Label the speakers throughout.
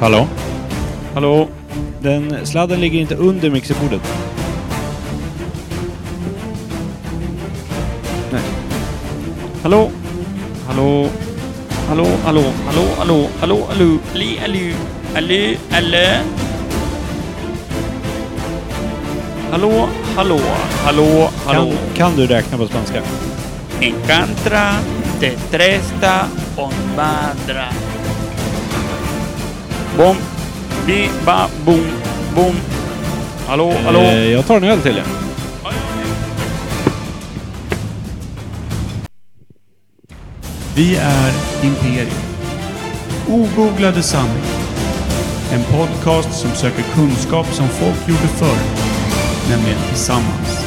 Speaker 1: Hallå? Hallå? Den sladden ligger inte under mixerbordet. Nej. Hallå? Hallå?
Speaker 2: Hallå, hallå, hallå, hallå, hallå, hallå, li, allu, allu, allu. Hallå, hallå, hallå, hallå.
Speaker 1: Kan, kan du räkna på spanska?
Speaker 2: Encantra, te tresta, onvandra. Bom, bi, ba, bom, bom. Hallå, hallå.
Speaker 1: Eh, jag tar en öl till er.
Speaker 3: Vi är Imperium. Ogooglade sanningar. En podcast som söker kunskap som folk gjorde förr. Nämligen tillsammans.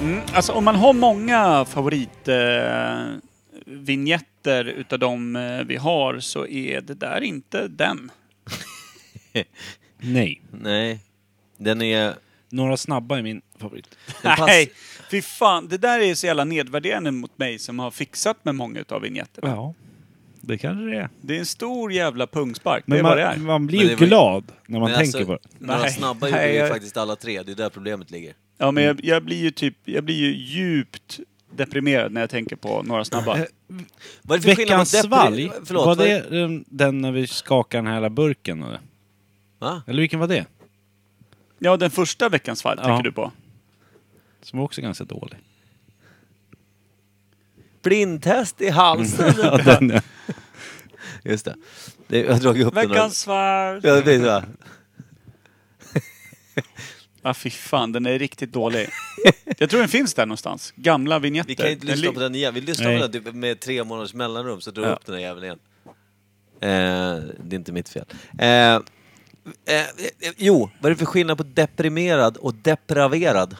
Speaker 2: Mm, alltså om man har många favoritvinjetter eh, vignetter utav de eh, vi har så är det där inte den.
Speaker 1: Nej.
Speaker 4: Nej. Den är...
Speaker 1: Några snabba är min favorit.
Speaker 4: Den pass-
Speaker 2: Nej, fy fan. Det där är så jävla nedvärderande mot mig som har fixat med många utav vinjetterna.
Speaker 1: Ja. Det kanske det är.
Speaker 2: Det är en stor jävla pungspark, det
Speaker 1: Men
Speaker 2: är vad det är.
Speaker 1: man, man blir
Speaker 4: Men
Speaker 1: ju
Speaker 4: det var-
Speaker 1: glad när man
Speaker 4: Men
Speaker 1: tänker
Speaker 4: alltså,
Speaker 1: på det.
Speaker 4: Några
Speaker 2: Nej.
Speaker 4: snabba
Speaker 2: Nej,
Speaker 4: gjorde vi
Speaker 2: jag-
Speaker 4: faktiskt alla tre. Det är där problemet ligger.
Speaker 2: Ja, men jag, jag blir ju typ, jag blir ju djupt deprimerad när jag tänker på några snabba.
Speaker 4: Vad är det för skillnad
Speaker 1: Veckans
Speaker 4: mot depri-
Speaker 1: svalg,
Speaker 4: Förlåt,
Speaker 1: var
Speaker 4: vad
Speaker 1: det
Speaker 4: är...
Speaker 1: den, den när vi skakar den här hela burken? Eller,
Speaker 4: Va?
Speaker 1: eller vilken var det?
Speaker 2: Ja, den första veckans fall
Speaker 1: Ja.
Speaker 2: tänker du på.
Speaker 1: Som var också ganska dålig.
Speaker 4: Blindtest i halsen?
Speaker 1: Mm. Ja, den, ja.
Speaker 4: Just det. det. Jag har dragit upp
Speaker 2: Veckans fall!
Speaker 4: den. Veckans... Ja,
Speaker 2: Ja, Ah, fy fan, den är riktigt dålig. Jag tror den finns där någonstans. Gamla vignetter.
Speaker 4: vi kan inte lyssna på den igen. Vi lyssnar
Speaker 1: Nej.
Speaker 4: på den typ med tre månaders mellanrum, så drar vi
Speaker 1: Ja.
Speaker 4: upp den här jäveln igen. Eh, det är inte mitt fel. Eh, eh, eh, jo, vad är det för skillnad på deprimerad och depraverad?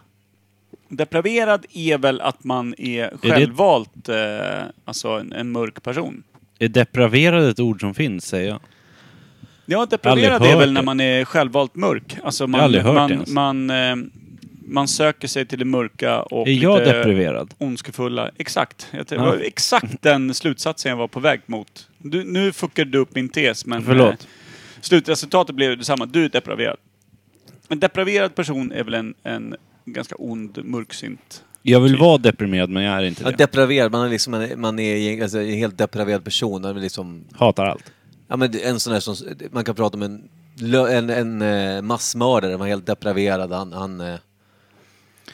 Speaker 2: Depraverad är väl att man är
Speaker 1: det-
Speaker 2: självvalt, eh, alltså en, en mörk person.
Speaker 1: Är depraverad ett ord som finns, säger jag.
Speaker 2: Ja,
Speaker 1: Aldrig
Speaker 2: depraverad
Speaker 1: hört
Speaker 2: är väl
Speaker 1: det.
Speaker 2: när man är självvalt mörk. Alltså man,
Speaker 1: aldrig hört det
Speaker 2: man,
Speaker 1: ens.
Speaker 2: man, eh, man söker sig till det mörka och
Speaker 1: Är jag
Speaker 2: lite
Speaker 1: depriverad?
Speaker 2: ondskefulla. Exakt. Jag t-
Speaker 1: Ja.
Speaker 2: var exakt den slutsatsen jag var på väg mot. Du, nu fuckade du upp min tes, men...
Speaker 1: Förlåt.
Speaker 2: eh, slutresultatet blev detsamma. Du är depraverad. En depraverad person är väl en, en ganska ond, mörksynt...
Speaker 1: Jag vill vara deprimerad, men jag är inte
Speaker 4: Ja,
Speaker 1: det.
Speaker 4: depraverad, man är, liksom en, man är alltså, en helt depraverad person. Man är liksom
Speaker 1: Hatar allt.
Speaker 4: Ja, men det är en sån där som, man kan prata om en, lö- en, en eh, massmördare, han var helt depraverad, han, han eh,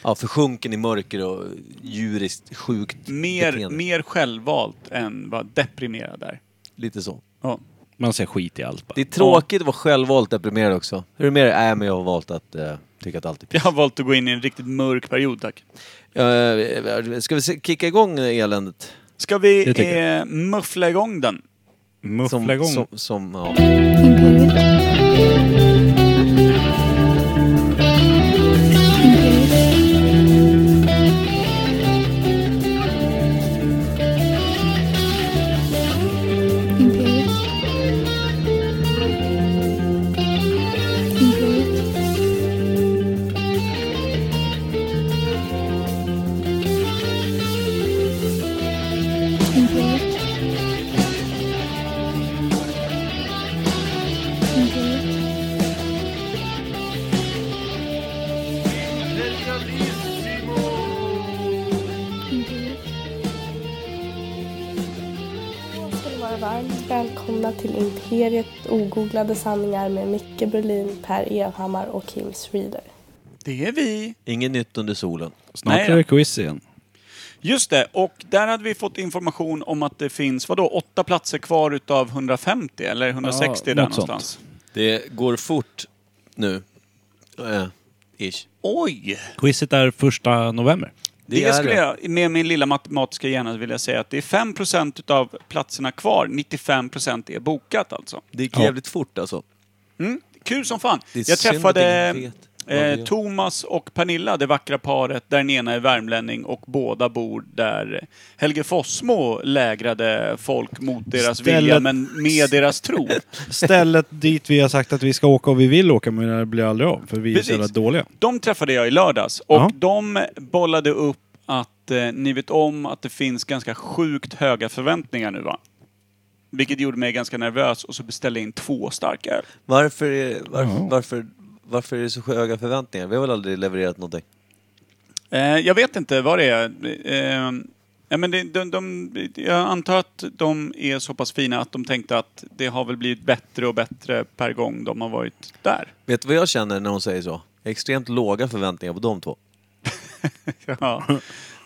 Speaker 4: ja, försjunken i mörker och djuriskt sjukt
Speaker 2: Mer,
Speaker 4: beteende.
Speaker 2: mer självvalt än vad deprimerad är.
Speaker 4: Lite så.
Speaker 2: Ja.
Speaker 1: Man ser skit i allt bara.
Speaker 4: Det är tråkigt att vara självvalt deprimerad också. Hur är det med det? Nej, men jag har valt att eh, tycka att allt är
Speaker 2: Jag har valt att gå in i en riktigt mörk period, tack.
Speaker 4: piss. Eh, ska vi se, kicka igång eländet?
Speaker 2: Ska vi
Speaker 1: Det tycker
Speaker 2: eh, muffla igång den?
Speaker 1: Muffla
Speaker 4: Som,
Speaker 1: igång.
Speaker 4: som, som, ja.
Speaker 5: Imperiet. Imperiet. Imperiet. Imperiet. Imperiet. Imperiet. Imperiet.
Speaker 6: ska ni vara varmt välkomna till Imperiet ogooglade sanningar med Micke Berlin, Per Evhammar och Kim Reader.
Speaker 2: Det är vi.
Speaker 4: Inget nytt under solen.
Speaker 1: Snart
Speaker 2: Nej,
Speaker 1: är det
Speaker 2: ja.
Speaker 1: quiz igen.
Speaker 2: Just det, och där hade vi fått information om att det finns, vadå, åtta platser kvar utav 150 eller 160
Speaker 1: Ja,
Speaker 2: där
Speaker 1: något sånt.
Speaker 2: någonstans.
Speaker 4: Det går fort nu. Eh, ish.
Speaker 2: Oj!
Speaker 1: Quizet är första november.
Speaker 2: Det,
Speaker 4: är
Speaker 2: skulle jag med min lilla matematiska hjärna vilja säga att det är 5% utav platserna kvar. 95% är bokat alltså.
Speaker 4: Det gick jävligt fort alltså.
Speaker 2: Mm. Kul som fan.
Speaker 4: Det är
Speaker 2: Jag
Speaker 4: synd att
Speaker 2: träffade
Speaker 4: ingen vet.
Speaker 2: Eh, Thomas och Pernilla, det vackra paret, där den ena är värmlänning och båda bor där Helge Fossmo lägrade folk mot deras
Speaker 1: Stället-
Speaker 2: vilja, men med deras tro.
Speaker 1: Stället dit vi har sagt att vi ska åka och vi vill åka men det blir aldrig av för vi är så
Speaker 2: Precis.
Speaker 1: jävla dåliga.
Speaker 2: De träffade jag i lördags och
Speaker 1: Ja.
Speaker 2: de bollade upp att eh, ni vet om att det finns ganska sjukt höga förväntningar nu va? Vilket gjorde mig ganska nervös och så beställde jag in två starka öl.
Speaker 4: Varför, är- varför,
Speaker 1: Ja.
Speaker 4: varför, varför är det så höga förväntningar? Vi har väl aldrig levererat någonting?
Speaker 2: Eh, jag vet inte vad det är. Eh, ja, men det, de, de, jag antar att de är så pass fina att de tänkte att det har väl blivit bättre och bättre per gång de har varit där.
Speaker 4: Vet du vad jag känner när hon säger så? Extremt låga förväntningar på de två.
Speaker 2: Ja.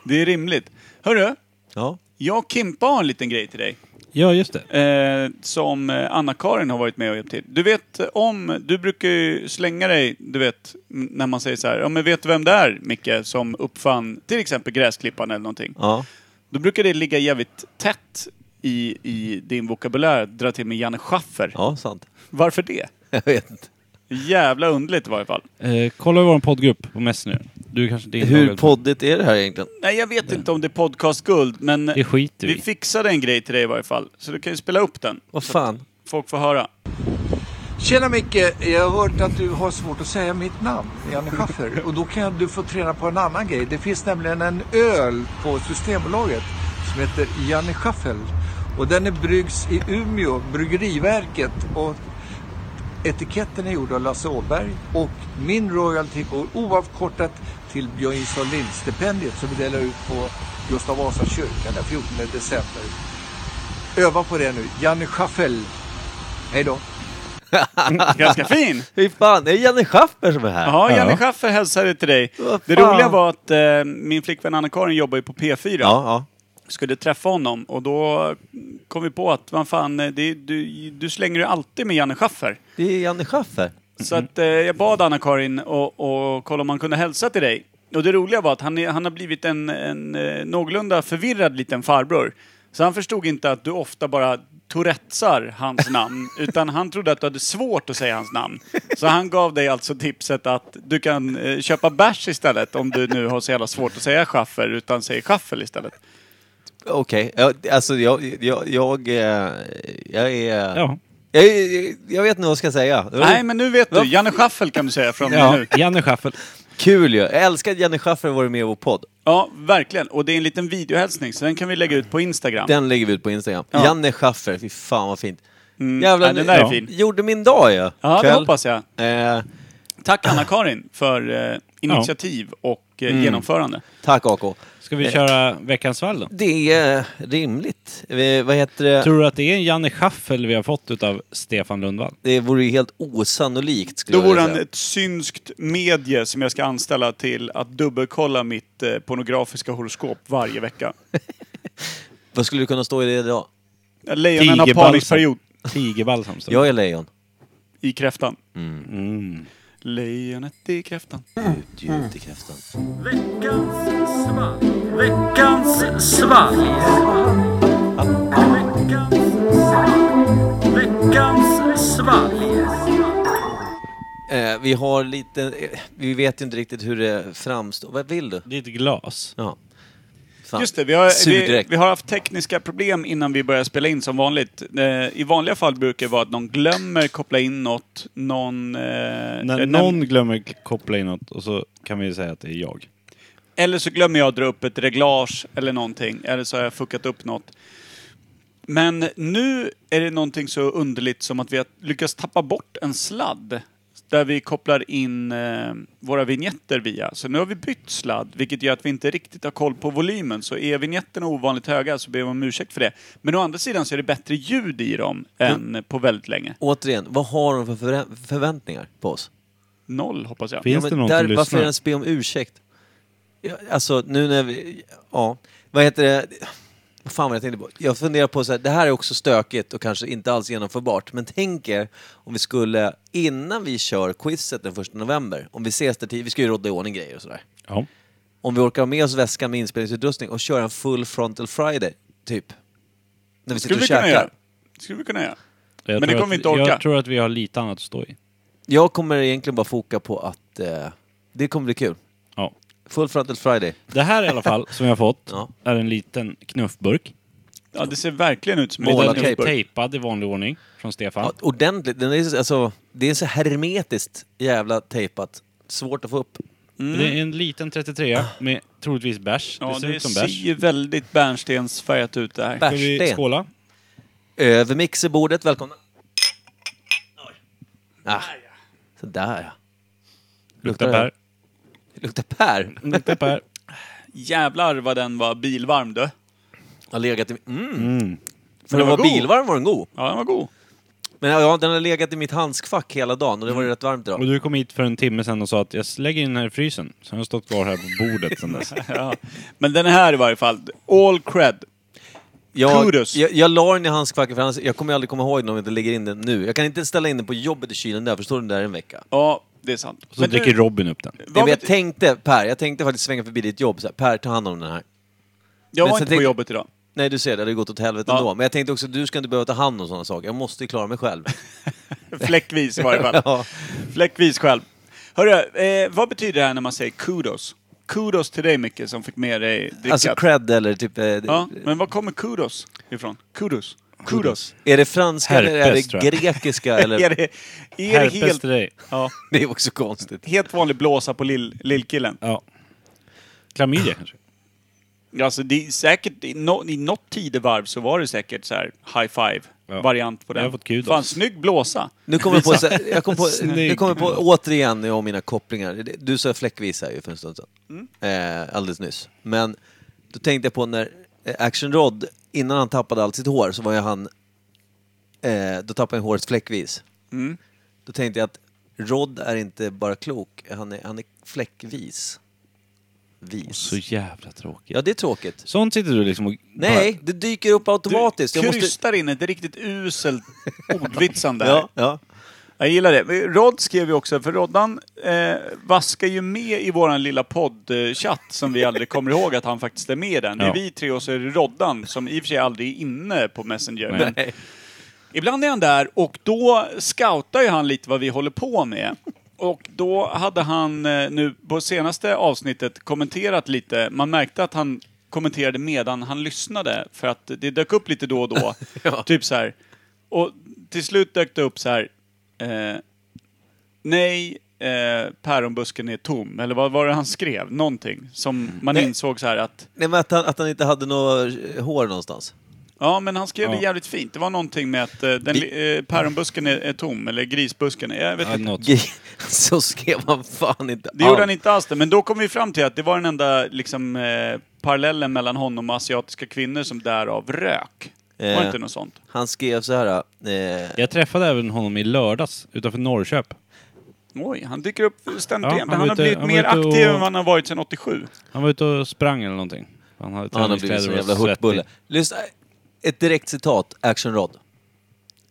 Speaker 2: Det är rimligt. Hörru,
Speaker 4: Ja.
Speaker 2: jag och Kimpa har en liten grej till dig.
Speaker 1: Ja, just det.
Speaker 2: Eh, som eh, Anna-Karin har varit med och hjälpt till. Du vet eh, om, du brukar ju slänga dig, du vet, m- när man säger så här, ja men vet du vem det är, Micke, som uppfann till exempel gräsklippan eller någonting.
Speaker 4: ja.
Speaker 2: Då brukar det ligga jävligt tätt i, i din vokabulär, dra till med Janne Schaffer.
Speaker 4: Ja, sant.
Speaker 2: Varför det?
Speaker 4: Jag vet inte.
Speaker 2: Jävla underligt i varje fall.
Speaker 1: Eh, kolla i vår poddgrupp på Messenger. Du kanske inte är
Speaker 4: Hur
Speaker 1: inloggad på-
Speaker 4: poddigt är det här egentligen?
Speaker 2: Nej, jag vet inte om det är podcastguld, men
Speaker 1: Det skiter vi
Speaker 2: vi
Speaker 1: i.
Speaker 2: fixade en grej till dig i varje fall. Så du kan ju spela upp den.
Speaker 4: Vad fan?
Speaker 2: Folk får höra.
Speaker 7: Tjena Micke! Jag har hört att du har svårt att säga mitt namn, Janne Schaffer. Och då kan du få träna på en annan grej. Det finns nämligen en öl på Systembolaget som heter Janne Schaffel. Och den är bryggs i Umeå, Bryggeriverket. Och etiketten är gjord av Lasse Åberg. Och min royalty går oavkortat till Björn Isav Lind-stipendiet som vi delar ut på Gustav Vasa kyrka den 14 december. Öva på det nu. Janne Schaffel. Hej då!
Speaker 2: Ganska fin!
Speaker 4: Hur fan, är det Janne Schaffer som är här?
Speaker 2: Ja, Janne
Speaker 1: Ja.
Speaker 2: Schaffer hälsade till dig.
Speaker 4: Vad
Speaker 2: Det
Speaker 4: fan.
Speaker 2: roliga var att eh, min flickvän Anna-Karin jobbar ju på P4.
Speaker 4: ja, ja.
Speaker 2: Skulle träffa honom och då kom vi på att, vad fan, eh, det, du, du slänger ju alltid med Janne Schaffer.
Speaker 4: Det är Janne Schaffer.
Speaker 2: Så att, eh, jag bad Anna-Karin och, och kolla om han kunde hälsa till dig. Och det roliga var att han, är, han har blivit en, en eh, någorlunda förvirrad liten farbror. Så han förstod inte att du ofta bara Tourettesar hans namn, utan han trodde att du hade svårt att säga hans namn. Så han gav dig alltså tipset att du kan eh, köpa bärs istället om du nu har så jävla svårt att säga schaffer, utan säger schaffel istället.
Speaker 4: Okej, ja, alltså jag, jag, jag, eh, jag är...
Speaker 1: Ja.
Speaker 4: Jag, är- jag vet inte vad jag ska säga. Det var
Speaker 2: Nej, men nu vet du. Janne Schaffel kan du säga från och med
Speaker 1: Ja,
Speaker 2: nu.
Speaker 1: Janne Schaffel.
Speaker 4: Kul ju! Jag älskar att Janne Schaffer har varit med i vår podd.
Speaker 2: Ja, verkligen. Och det är en liten videohälsning, så den kan vi lägga ut på Instagram.
Speaker 4: Den lägger vi ut på Instagram.
Speaker 2: Ja.
Speaker 4: Janne Schaffer, fy fan vad fint. Mm.
Speaker 2: ja, den där är
Speaker 4: ja.
Speaker 2: fin.
Speaker 4: gjorde min dag ju.
Speaker 2: Ja, det
Speaker 4: Kväll.
Speaker 2: hoppas jag.
Speaker 4: Eh,
Speaker 2: Tack Anna-Karin för eh, initiativ och eh,
Speaker 1: Mm.
Speaker 2: genomförande.
Speaker 4: tack AK.
Speaker 1: Ska vi köra veckans fall då?
Speaker 4: Det är rimligt. Eh, vad heter det?
Speaker 1: Tror du att det är en Janne Schaffel vi har fått utav Stefan Lundvall?
Speaker 4: Det vore ju helt osannolikt skulle
Speaker 2: Då
Speaker 4: jag
Speaker 2: vore
Speaker 4: vilja
Speaker 2: han
Speaker 4: säga.
Speaker 2: ett synskt medie som jag ska anställa till att dubbelkolla mitt eh, pornografiska horoskop varje vecka.
Speaker 4: Vad skulle du kunna stå i det idag?
Speaker 2: Lejonen har parningsperiod
Speaker 1: Tigerbalsam. står det.
Speaker 4: Jag är lejon.
Speaker 2: i kräftan.
Speaker 4: Mm.
Speaker 1: Mm.
Speaker 2: Lejonet i kräftan.
Speaker 4: Djupt i kräftan. Eh, vi har lite... eh, Vi vet ju inte riktigt hur det framstår. Vad vill du?
Speaker 1: Ditt glas.
Speaker 4: Ja. Fan.
Speaker 2: Just det, vi har, vi,
Speaker 4: Surdräkt.
Speaker 2: vi har haft tekniska problem innan vi började spela in som vanligt. Eh, I vanliga fall brukar det vara att någon glömmer koppla in något, någon... eh,
Speaker 1: När
Speaker 2: eh,
Speaker 1: någon glömmer k- koppla in något och så kan vi säga att det är jag.
Speaker 2: Eller så glömmer jag dra upp ett reglage eller någonting. Eller så har jag fuckat upp något. Men nu är det någonting så underligt som att vi har lyckats tappa bort en sladd. Där vi kopplar in eh, våra vignetter via. Så nu har vi bytt sladd, vilket gör att vi inte riktigt har koll på volymen. Så är vignetterna ovanligt höga så ber man om ursäkt för det. Men å andra sidan så är det bättre ljud i dem än på väldigt länge.
Speaker 4: Återigen, vad har de för förvä- förväntningar på oss?
Speaker 2: Noll, hoppas jag.
Speaker 1: Finns
Speaker 4: men
Speaker 1: det någon
Speaker 4: där,
Speaker 1: som
Speaker 4: Varför
Speaker 1: lyssnar?
Speaker 4: ens be om ursäkt? Ja, alltså, nu när vi... Ja. Vad heter det? Vad fan var det jag tänkte på? Jag funderar på så här, det här är också stökigt och kanske inte alls genomförbart. Men tänk er om vi skulle, innan vi kör quizet den 1 november, om vi ses där tid, vi ska ju rodda i ordning grejer och sådär.
Speaker 1: Ja.
Speaker 4: Om vi orkar ha med oss väskan med inspelningsutrustning och köra en full frontal friday, typ. När vi sitter
Speaker 2: Skulle
Speaker 4: och
Speaker 2: vi kunna göra.
Speaker 4: käkar.
Speaker 2: Skulle vi kunna göra.
Speaker 1: Jag
Speaker 2: Men det
Speaker 1: tror
Speaker 2: kommer
Speaker 1: att,
Speaker 2: vi inte orka.
Speaker 1: Jag tror att vi har lite annat att stå i.
Speaker 4: Jag kommer egentligen bara foka på att jätte... Det kommer bli kul.
Speaker 1: Ja.
Speaker 4: Full Frontal Friday.
Speaker 1: Det här i alla fall, som jag har fått,
Speaker 4: Ja.
Speaker 1: är en liten knuffburk.
Speaker 2: Ja, det ser verkligen ut som en
Speaker 4: Måla
Speaker 2: liten
Speaker 1: Den
Speaker 4: Målartejp.
Speaker 1: är
Speaker 2: knuffburk.
Speaker 1: tejpad i vanlig ordning från Stefan.
Speaker 4: Ja, ordentligt. Den är, alltså, det är så hermetiskt jävla tejpat. Svårt att få upp.
Speaker 1: Mm. Det är en liten 33 med troligtvis bärs.
Speaker 2: Ja,
Speaker 1: det ser
Speaker 2: det
Speaker 1: ut som bärs.
Speaker 2: ser väldigt bärnstensfärgat ut det här.
Speaker 1: Ska vi
Speaker 4: Bärssten.
Speaker 1: skåla?
Speaker 4: Över mixerbordet. Välkomna. Ah. Sådär ja.
Speaker 1: Luktar bär.
Speaker 4: Det luktar pär.
Speaker 1: Luktar bär.
Speaker 2: Jävlar vad den var bilvarm du.
Speaker 4: Har legat i... Mm. För
Speaker 2: den
Speaker 4: att
Speaker 2: var
Speaker 4: vara
Speaker 2: god.
Speaker 4: bilvarm var den god.
Speaker 2: Ja, den var god.
Speaker 4: Men ja, den har legat i mitt handskfack hela dagen och det var
Speaker 2: Mm.
Speaker 4: ju rätt varmt
Speaker 1: Och
Speaker 4: idag.
Speaker 1: du kom hit för en timme sedan och sa att jag lägger in den här i frysen. Så den har stått kvar här på bordet sedan dess.
Speaker 2: Ja. Men den här i varje fall, all cred.
Speaker 4: Jag,
Speaker 2: Kudos.
Speaker 4: jag, jag la den i handskfacket för annars, jag kommer ju aldrig komma ihåg den om jag inte lägger in den nu. Jag kan inte ställa in den på jobbet i kylen där, förstår du, den där en vecka.
Speaker 2: Ja, det är sant.
Speaker 1: Så dricker Robin upp den.
Speaker 4: Det
Speaker 2: vad
Speaker 4: men jag
Speaker 2: bety-
Speaker 4: tänkte, Per, jag tänkte faktiskt svänga förbi ditt jobb. Så här, per, ta hand om den här.
Speaker 2: Jag
Speaker 4: men
Speaker 2: var
Speaker 4: sen
Speaker 2: inte på
Speaker 4: tänk-
Speaker 2: jobbet idag.
Speaker 4: Nej, du ser, det hade ju gått åt helvete
Speaker 2: Ja.
Speaker 4: ändå. Men jag tänkte också, du ska inte behöva ta hand om sådana saker. Jag måste ju klara mig själv.
Speaker 2: Fläckvis i varje fall.
Speaker 4: Ja.
Speaker 2: Fläckvis själv. Hörru, eh, vad betyder det här när man säger kudos? Kudos till dig Micke som fick med dig drickat.
Speaker 4: Alltså cred eller typ... eh,
Speaker 2: ja, men var kommer kudos ifrån? Kudos? Kudos?
Speaker 4: Är det franska eller är
Speaker 1: Herpes, tror
Speaker 4: det
Speaker 1: jag.
Speaker 4: grekiska? Eller?
Speaker 2: Är det, är det
Speaker 1: Herpes
Speaker 2: helt,
Speaker 1: till dig.
Speaker 2: ja,
Speaker 4: Det är också konstigt.
Speaker 2: helt vanlig blåsa på lill- lillkillen?
Speaker 1: Ja. Klamydia kanske?
Speaker 2: Alltså det är säkert, i, no, i något tidevarv så var det säkert så här high
Speaker 1: Ja.
Speaker 2: five-variant på den.
Speaker 1: Jag har fått kudos.
Speaker 2: Fan, snygg blåsa!
Speaker 4: Nu kommer jag på, så här, jag kom på, nu
Speaker 1: Snygg.
Speaker 4: kommer jag på återigen jag och mina kopplingar. Det- Du sa fläckvis här ju för en stund sedan. Eh, alldeles nyss. Men då tänkte jag på när eh, Action Rod, innan han tappade allt sitt hår så var ju han... Eh, då tappade han håret fläckvis. Då tänkte jag att Rod är inte bara klok, han är, han är fläckvis. Vis.
Speaker 1: Så jävla tråkigt.
Speaker 4: Ja, det är tråkigt.
Speaker 1: Sånt sitter du liksom och...
Speaker 4: Nej, det dyker upp automatiskt.
Speaker 2: Du
Speaker 4: Jag måste...
Speaker 2: krystar in ett riktigt uselt ordvitsande här.
Speaker 4: Ja, ja.
Speaker 2: Jag gillar det. Rod skrev ju också, för Roddan eh, vaskar ju med i våran lilla poddchatt som vi aldrig kommer ihåg att han faktiskt är med i den. Det är
Speaker 1: Ja.
Speaker 2: vi tre och så är det Roddan som i och för sig aldrig är inne på Messenger. Men
Speaker 4: Nej.
Speaker 2: Ibland är han där och då scoutar ju han lite vad vi håller på med. Och då hade han eh, nu på senaste avsnittet kommenterat lite. Man märkte att han kommenterade medan han lyssnade för att det dök upp lite då och då.
Speaker 4: Ja.
Speaker 2: Typ så här. Och till slut dök det upp så här. Eh, nej, eh, päronbusken är tom. Eller vad var det han skrev? Någonting som man
Speaker 4: Nej.
Speaker 2: insåg så här att
Speaker 4: Nej, men att han, att han inte hade något eh, hår någonstans.
Speaker 2: Ja, men han skrev det
Speaker 1: Ja.
Speaker 2: jävligt fint. Det var någonting med att eh, den, li- eh, päronbusken är, är tom, eller grisbusken. är- Jag vet
Speaker 1: Ja,
Speaker 2: inte.
Speaker 1: något.
Speaker 4: Gre- Så skrev han fan inte
Speaker 2: Det gjorde han inte alls det, men då kom vi fram till att det var den enda liksom, eh, parallellen mellan honom och asiatiska kvinnor som därav rök. Var
Speaker 4: Eh.
Speaker 2: det inte något sånt?
Speaker 4: Han skrev så här. Eh,
Speaker 1: Jag träffade även honom i lördags utanför Norrköp.
Speaker 2: Oj, han dyker upp ständigt
Speaker 1: Ja,
Speaker 2: igen.
Speaker 1: han
Speaker 2: Han, han har
Speaker 1: var ute-
Speaker 2: blivit
Speaker 1: han var
Speaker 2: mer
Speaker 1: ute och-
Speaker 2: aktiv än han har varit sedan 87.
Speaker 1: Han var ute och sprang eller någonting. Han hade
Speaker 4: han har
Speaker 1: träningskläder
Speaker 4: blivit
Speaker 1: och
Speaker 4: som en
Speaker 1: var
Speaker 4: jävla
Speaker 1: svettig.
Speaker 4: hurtbulle. Lyssna, ett direkt citat, Action Rod.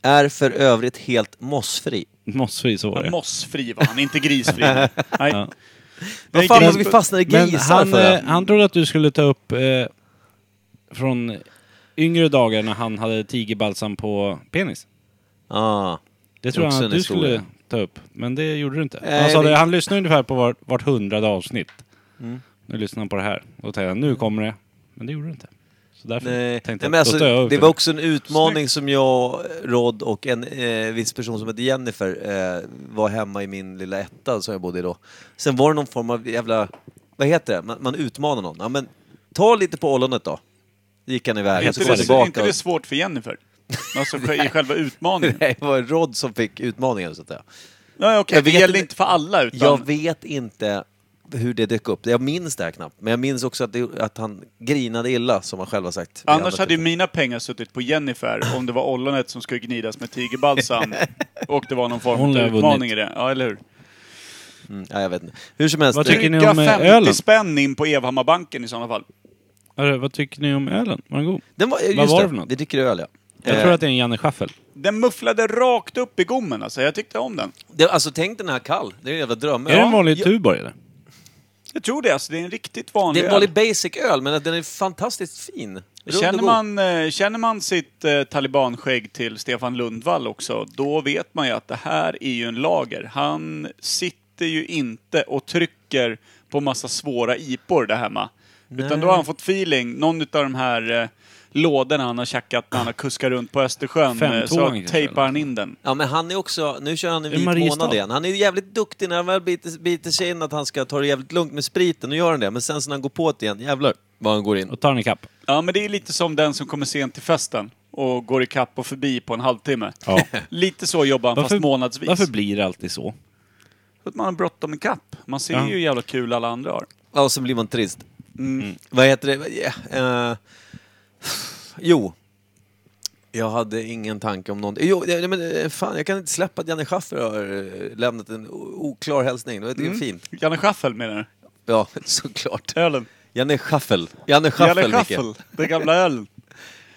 Speaker 4: Är för övrigt helt mossfri.
Speaker 1: Mossfri, så var
Speaker 2: Ja,
Speaker 1: det.
Speaker 2: mossfri var han, inte grisfri. Nej. Nej,
Speaker 4: Vad fan
Speaker 2: gris-
Speaker 4: har vi fastnat i
Speaker 1: Men
Speaker 4: grisar
Speaker 1: han,
Speaker 4: för?
Speaker 1: eh, han trodde att du skulle ta upp eh, från yngre dagar när han hade tigerbalsam på penis.
Speaker 4: ah.
Speaker 1: Det tror
Speaker 4: Också
Speaker 1: han
Speaker 4: en
Speaker 1: att du
Speaker 4: historia.
Speaker 1: skulle ta upp, men det gjorde du inte.
Speaker 4: Nej,
Speaker 1: han sa
Speaker 4: det- Mm.
Speaker 1: det, han lyssnar ungefär på vart, vart hundrade avsnitt. Nu lyssnar han på det här. Då tänkte jag, nu kommer det. Men det gjorde du inte. Så därför
Speaker 2: Mm.
Speaker 4: Nej.
Speaker 1: tänkte
Speaker 4: Nej,
Speaker 1: jag,
Speaker 4: men alltså,
Speaker 1: då tar jag över
Speaker 4: det
Speaker 1: för
Speaker 4: var
Speaker 1: det.
Speaker 4: också en utmaning som jag, Rod och en eh, viss person som heter Jennifer eh, var hemma i min lilla etta som jag bodde i då. Sen var det någon form av jävla, vad heter det, man, man utmanar någon. Ja, men ta lite på ollonet då. Gick han iväg och så
Speaker 2: Inte
Speaker 4: kom han
Speaker 2: det,
Speaker 4: tillbaka.
Speaker 2: inte det svårt för Jennifer? Alltså i själva utmaningen.
Speaker 4: Nej, det var Rod som fick utmaningen så att säga.
Speaker 2: Nej, okej.
Speaker 4: Jag
Speaker 2: Det
Speaker 4: vet
Speaker 2: gällde
Speaker 4: inte-
Speaker 2: inte för alla utan...
Speaker 4: Jag vet inte hur det dök upp. Jag minns det här knappt. Men jag minns också att, det, att han grinade illa, som han själv har sagt.
Speaker 2: Annars hade ju mina pengar suttit på Jennifer om det var ollonet som skulle gnidas med tigerbalsam och det var någon form
Speaker 1: Hon
Speaker 2: av
Speaker 1: lär ha
Speaker 2: utmaning
Speaker 1: vunnit.
Speaker 2: i det. Ja, eller hur?
Speaker 4: Mm, ja, jag vet inte. Hur som helst.
Speaker 1: Vad
Speaker 4: det-
Speaker 1: tycker ni
Speaker 2: Dryga
Speaker 1: om, eh, ölen?
Speaker 2: 50 spänn in på Evhammarbanken i sådana fall.
Speaker 1: Hörru, Vad tycker ni om ölen? Var den god?
Speaker 4: Den var, just
Speaker 1: Vad var
Speaker 4: det
Speaker 1: det för något?
Speaker 4: Vi dricker öl, ja.
Speaker 1: Jag
Speaker 4: Eh,
Speaker 1: tror att det är en Janne Schaffel.
Speaker 2: Den mufflade rakt upp i gommen alltså. Jag tyckte om den.
Speaker 4: det, alltså tänk den här kall. Det är en jävla dröm.
Speaker 1: Är det en vanlig
Speaker 4: ja,
Speaker 1: Tuborg eller?
Speaker 2: Jag tror det alltså. Det är en riktigt
Speaker 4: Det
Speaker 2: vanlig
Speaker 4: är en vanlig basic öl, men att den är fantastiskt fin. Rund
Speaker 2: öl.
Speaker 4: och
Speaker 2: Känner
Speaker 4: god.
Speaker 2: man, eh, känner man sitt eh, talibanskägg till Stefan Lundvall också, då vet man ju att det här är ju en lager. Han sitter sitter ju inte och trycker på massa svåra IPor där hemma. Utan då har han fått feeling, någon av de här eh, lådorna han har tjackat när han har kuskat runt på Östersjön, eh, så
Speaker 1: Femtvåan kanske,
Speaker 2: tejpar han in den.
Speaker 4: Ja, men han är också... Nu kör han en
Speaker 1: Det är
Speaker 4: vit
Speaker 1: Mariestad.
Speaker 4: månad igen. Han är ju jävligt duktig när han väl biter, biter sig in att han ska ta det jävligt lugnt med spriten. och gör han det. Men sen så när han går på det igen, jävlar vad han går in.
Speaker 1: Och tar en ikapp.
Speaker 2: Ja, men det är lite som den som kommer sent till festen och går i kapp och förbi på en halvtimme.
Speaker 1: Ja.
Speaker 2: Lite så jobbar han, fast månadsvis.
Speaker 1: varför blir det alltid så?
Speaker 2: För att man har bråttom i kapp. Man ser
Speaker 1: Ja.
Speaker 2: ju hur jävla kul alla andra har.
Speaker 4: Ja, och så blir man trist. Mm. Vad heter det? Ja, eh, jo. Jag hade ingen tanke om någonting. Jo, ja, men eh, fan, jag kan inte släppa att Janne Schaffer har eh, lämnat en o- oklar hälsning. Det är fint.
Speaker 2: Janne Schaffel menar du?
Speaker 4: Ja, såklart.
Speaker 2: Ölen.
Speaker 4: Janne Schaffel. Janne Schaffel,
Speaker 2: Janne
Speaker 4: Micke.
Speaker 2: Schaffel, den gamla ölen.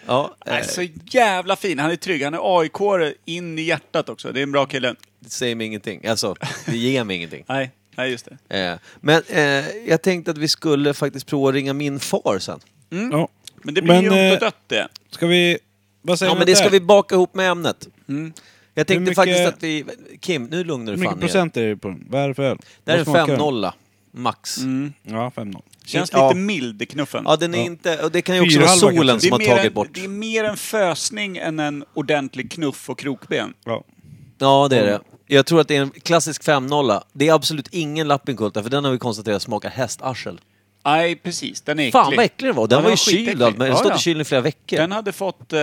Speaker 4: Ja, eh,
Speaker 2: Nej, så jävla fin. Han är trygg. Han är aik in i hjärtat också. Det är en bra kille.
Speaker 4: det säger mig ingenting. Alltså, det ger mig ingenting.
Speaker 2: Nej, nej just det.
Speaker 4: Eh, men eh, jag tänkte att vi skulle faktiskt prova att ringa min far sen.
Speaker 2: Mm.
Speaker 1: Ja.
Speaker 2: Men det blir
Speaker 1: Men,
Speaker 2: ju ont och
Speaker 1: eh,
Speaker 2: dött det.
Speaker 1: Ska vi... Vad säger
Speaker 4: Ja,
Speaker 1: ni
Speaker 4: men
Speaker 1: om
Speaker 4: det ska vi baka ihop med ämnet. Jag tänkte
Speaker 1: mycket-
Speaker 4: faktiskt att vi... Kim, nu lugnar du
Speaker 1: Hur mycket
Speaker 4: fan ner
Speaker 1: procent är det på den? Vad är det för öl?
Speaker 4: Det här är
Speaker 1: Vad smakar den?
Speaker 4: 5-0 max.
Speaker 2: Mm.
Speaker 1: Ja, 5-0.
Speaker 2: Känns
Speaker 4: Ja.
Speaker 2: lite mild i knuffen.
Speaker 4: Ja, den är inte... Och det kan ju också
Speaker 1: Fyrhalva
Speaker 4: vara
Speaker 1: kanske.
Speaker 4: solen
Speaker 2: det,
Speaker 4: som
Speaker 2: är
Speaker 4: har
Speaker 2: mer
Speaker 4: tagit
Speaker 2: en,
Speaker 4: bort.
Speaker 2: det är mer en fösning än en ordentlig knuff och krokben.
Speaker 1: Ja.
Speaker 4: Ja, det är
Speaker 2: Mm.
Speaker 4: det. Jag tror att det är en klassisk 5-0. Det är absolut ingen Lappinkulta, för den har vi konstaterat smakar hästarsel.
Speaker 2: Nej, precis. Den är äcklig.
Speaker 4: Fan vad äcklig den var! Den
Speaker 2: Ja,
Speaker 4: var ju
Speaker 2: skitäcklig.
Speaker 4: kyld och allt, men den har
Speaker 2: Ja,
Speaker 4: stått
Speaker 2: ja.
Speaker 4: i kylen i flera veckor.
Speaker 2: Den hade fått eh,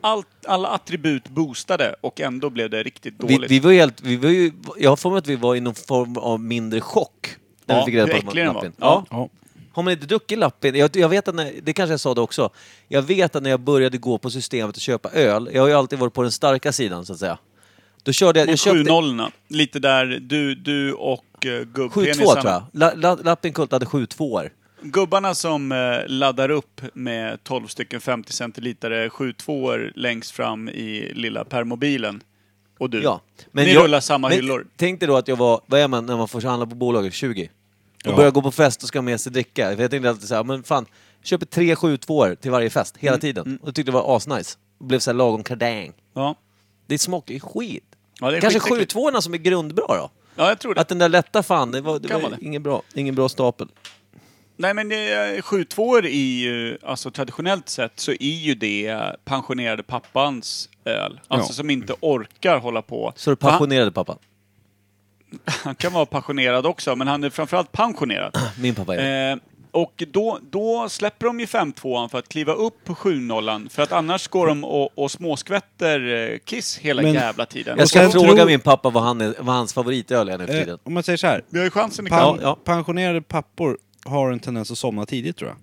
Speaker 2: allt, alla attribut boostade och ändå blev det riktigt
Speaker 4: vi,
Speaker 2: dåligt.
Speaker 4: vi var ju helt... Vi var ju, jag har för mig att vi var i någon form av mindre chock. När
Speaker 2: Ja,
Speaker 4: vi fick reda
Speaker 2: hur
Speaker 4: på att
Speaker 2: äcklig den
Speaker 4: man-
Speaker 2: var.
Speaker 4: Lappin.
Speaker 2: Ja.
Speaker 4: Ja.
Speaker 1: ja.
Speaker 4: Har man inte druckit lappin? Jag, jag vet att när, det kanske jag sa det också. Jag vet att när jag började gå på systemet och köpa öl, jag har ju alltid varit på den starka sidan så att säga. Då körde jag...
Speaker 2: Och
Speaker 4: jag köpte,
Speaker 2: 7-0, lite där du, du och eh,
Speaker 4: 7-2
Speaker 2: gubbpenisarna.
Speaker 4: tror jag. La, la, Lappinkult hade 7-2 år.
Speaker 2: Gubbarna som eh, laddar upp med 12 stycken 50 centilitare 7-2 längst fram i lilla permobilen. Och du.
Speaker 4: Ja.
Speaker 2: Typ. Ni
Speaker 4: jag-
Speaker 2: rullar samma
Speaker 4: men
Speaker 2: hyllor.
Speaker 4: Tänk dig då att jag var, vad är man när man får handla på bolaget? 20? Och
Speaker 1: Ja.
Speaker 4: börjar gå på fest och ska ha med sig dricka. För Jag tänkte alltid så här, men fan, jag köper tre 7 2 till varje fest,
Speaker 2: Mm,
Speaker 4: hela tiden. Och jag tyckte det var asnice. Och blev så här lagom kardäng.
Speaker 2: Ja.
Speaker 4: Det smakar ju skit.
Speaker 2: Ja, det är
Speaker 4: Kanske
Speaker 2: skitäckligt.
Speaker 4: 7 2 som är grundbra då?
Speaker 2: ja, jag tror det.
Speaker 4: Att den där lätta fan, det var, det
Speaker 2: Kan
Speaker 4: var
Speaker 2: vara det.
Speaker 4: ingen, bra, ingen bra stapel.
Speaker 2: Nej men eh, 7-2 i, ju- alltså traditionellt sett så är ju det eh, pensionerade pappans öl. Alltså
Speaker 1: Ja.
Speaker 2: som inte orkar hålla på.
Speaker 4: Så du
Speaker 2: För han,
Speaker 4: passionerade pappa?
Speaker 2: han kan vara passionerad också, men han är framförallt pensionerad.
Speaker 4: Min pappa är det.
Speaker 2: Eh, och då, då släpper de ju 5-2an för att kliva upp på 7-0an. För att annars går de och, och småskvätter eh, kiss hela
Speaker 1: Men-
Speaker 2: jävla tiden.
Speaker 4: Jag ska
Speaker 1: sen
Speaker 4: fråga
Speaker 1: tror-
Speaker 4: min pappa vad, han är, vad hans favoritöl är nu för
Speaker 1: Eh,
Speaker 4: tiden.
Speaker 1: om man säger så här.
Speaker 2: Vi har ju chansen i
Speaker 1: Pan
Speaker 2: kamp.
Speaker 4: Ja, ja.
Speaker 1: Pensionerade pappor har en tendens att somna tidigt tror jag.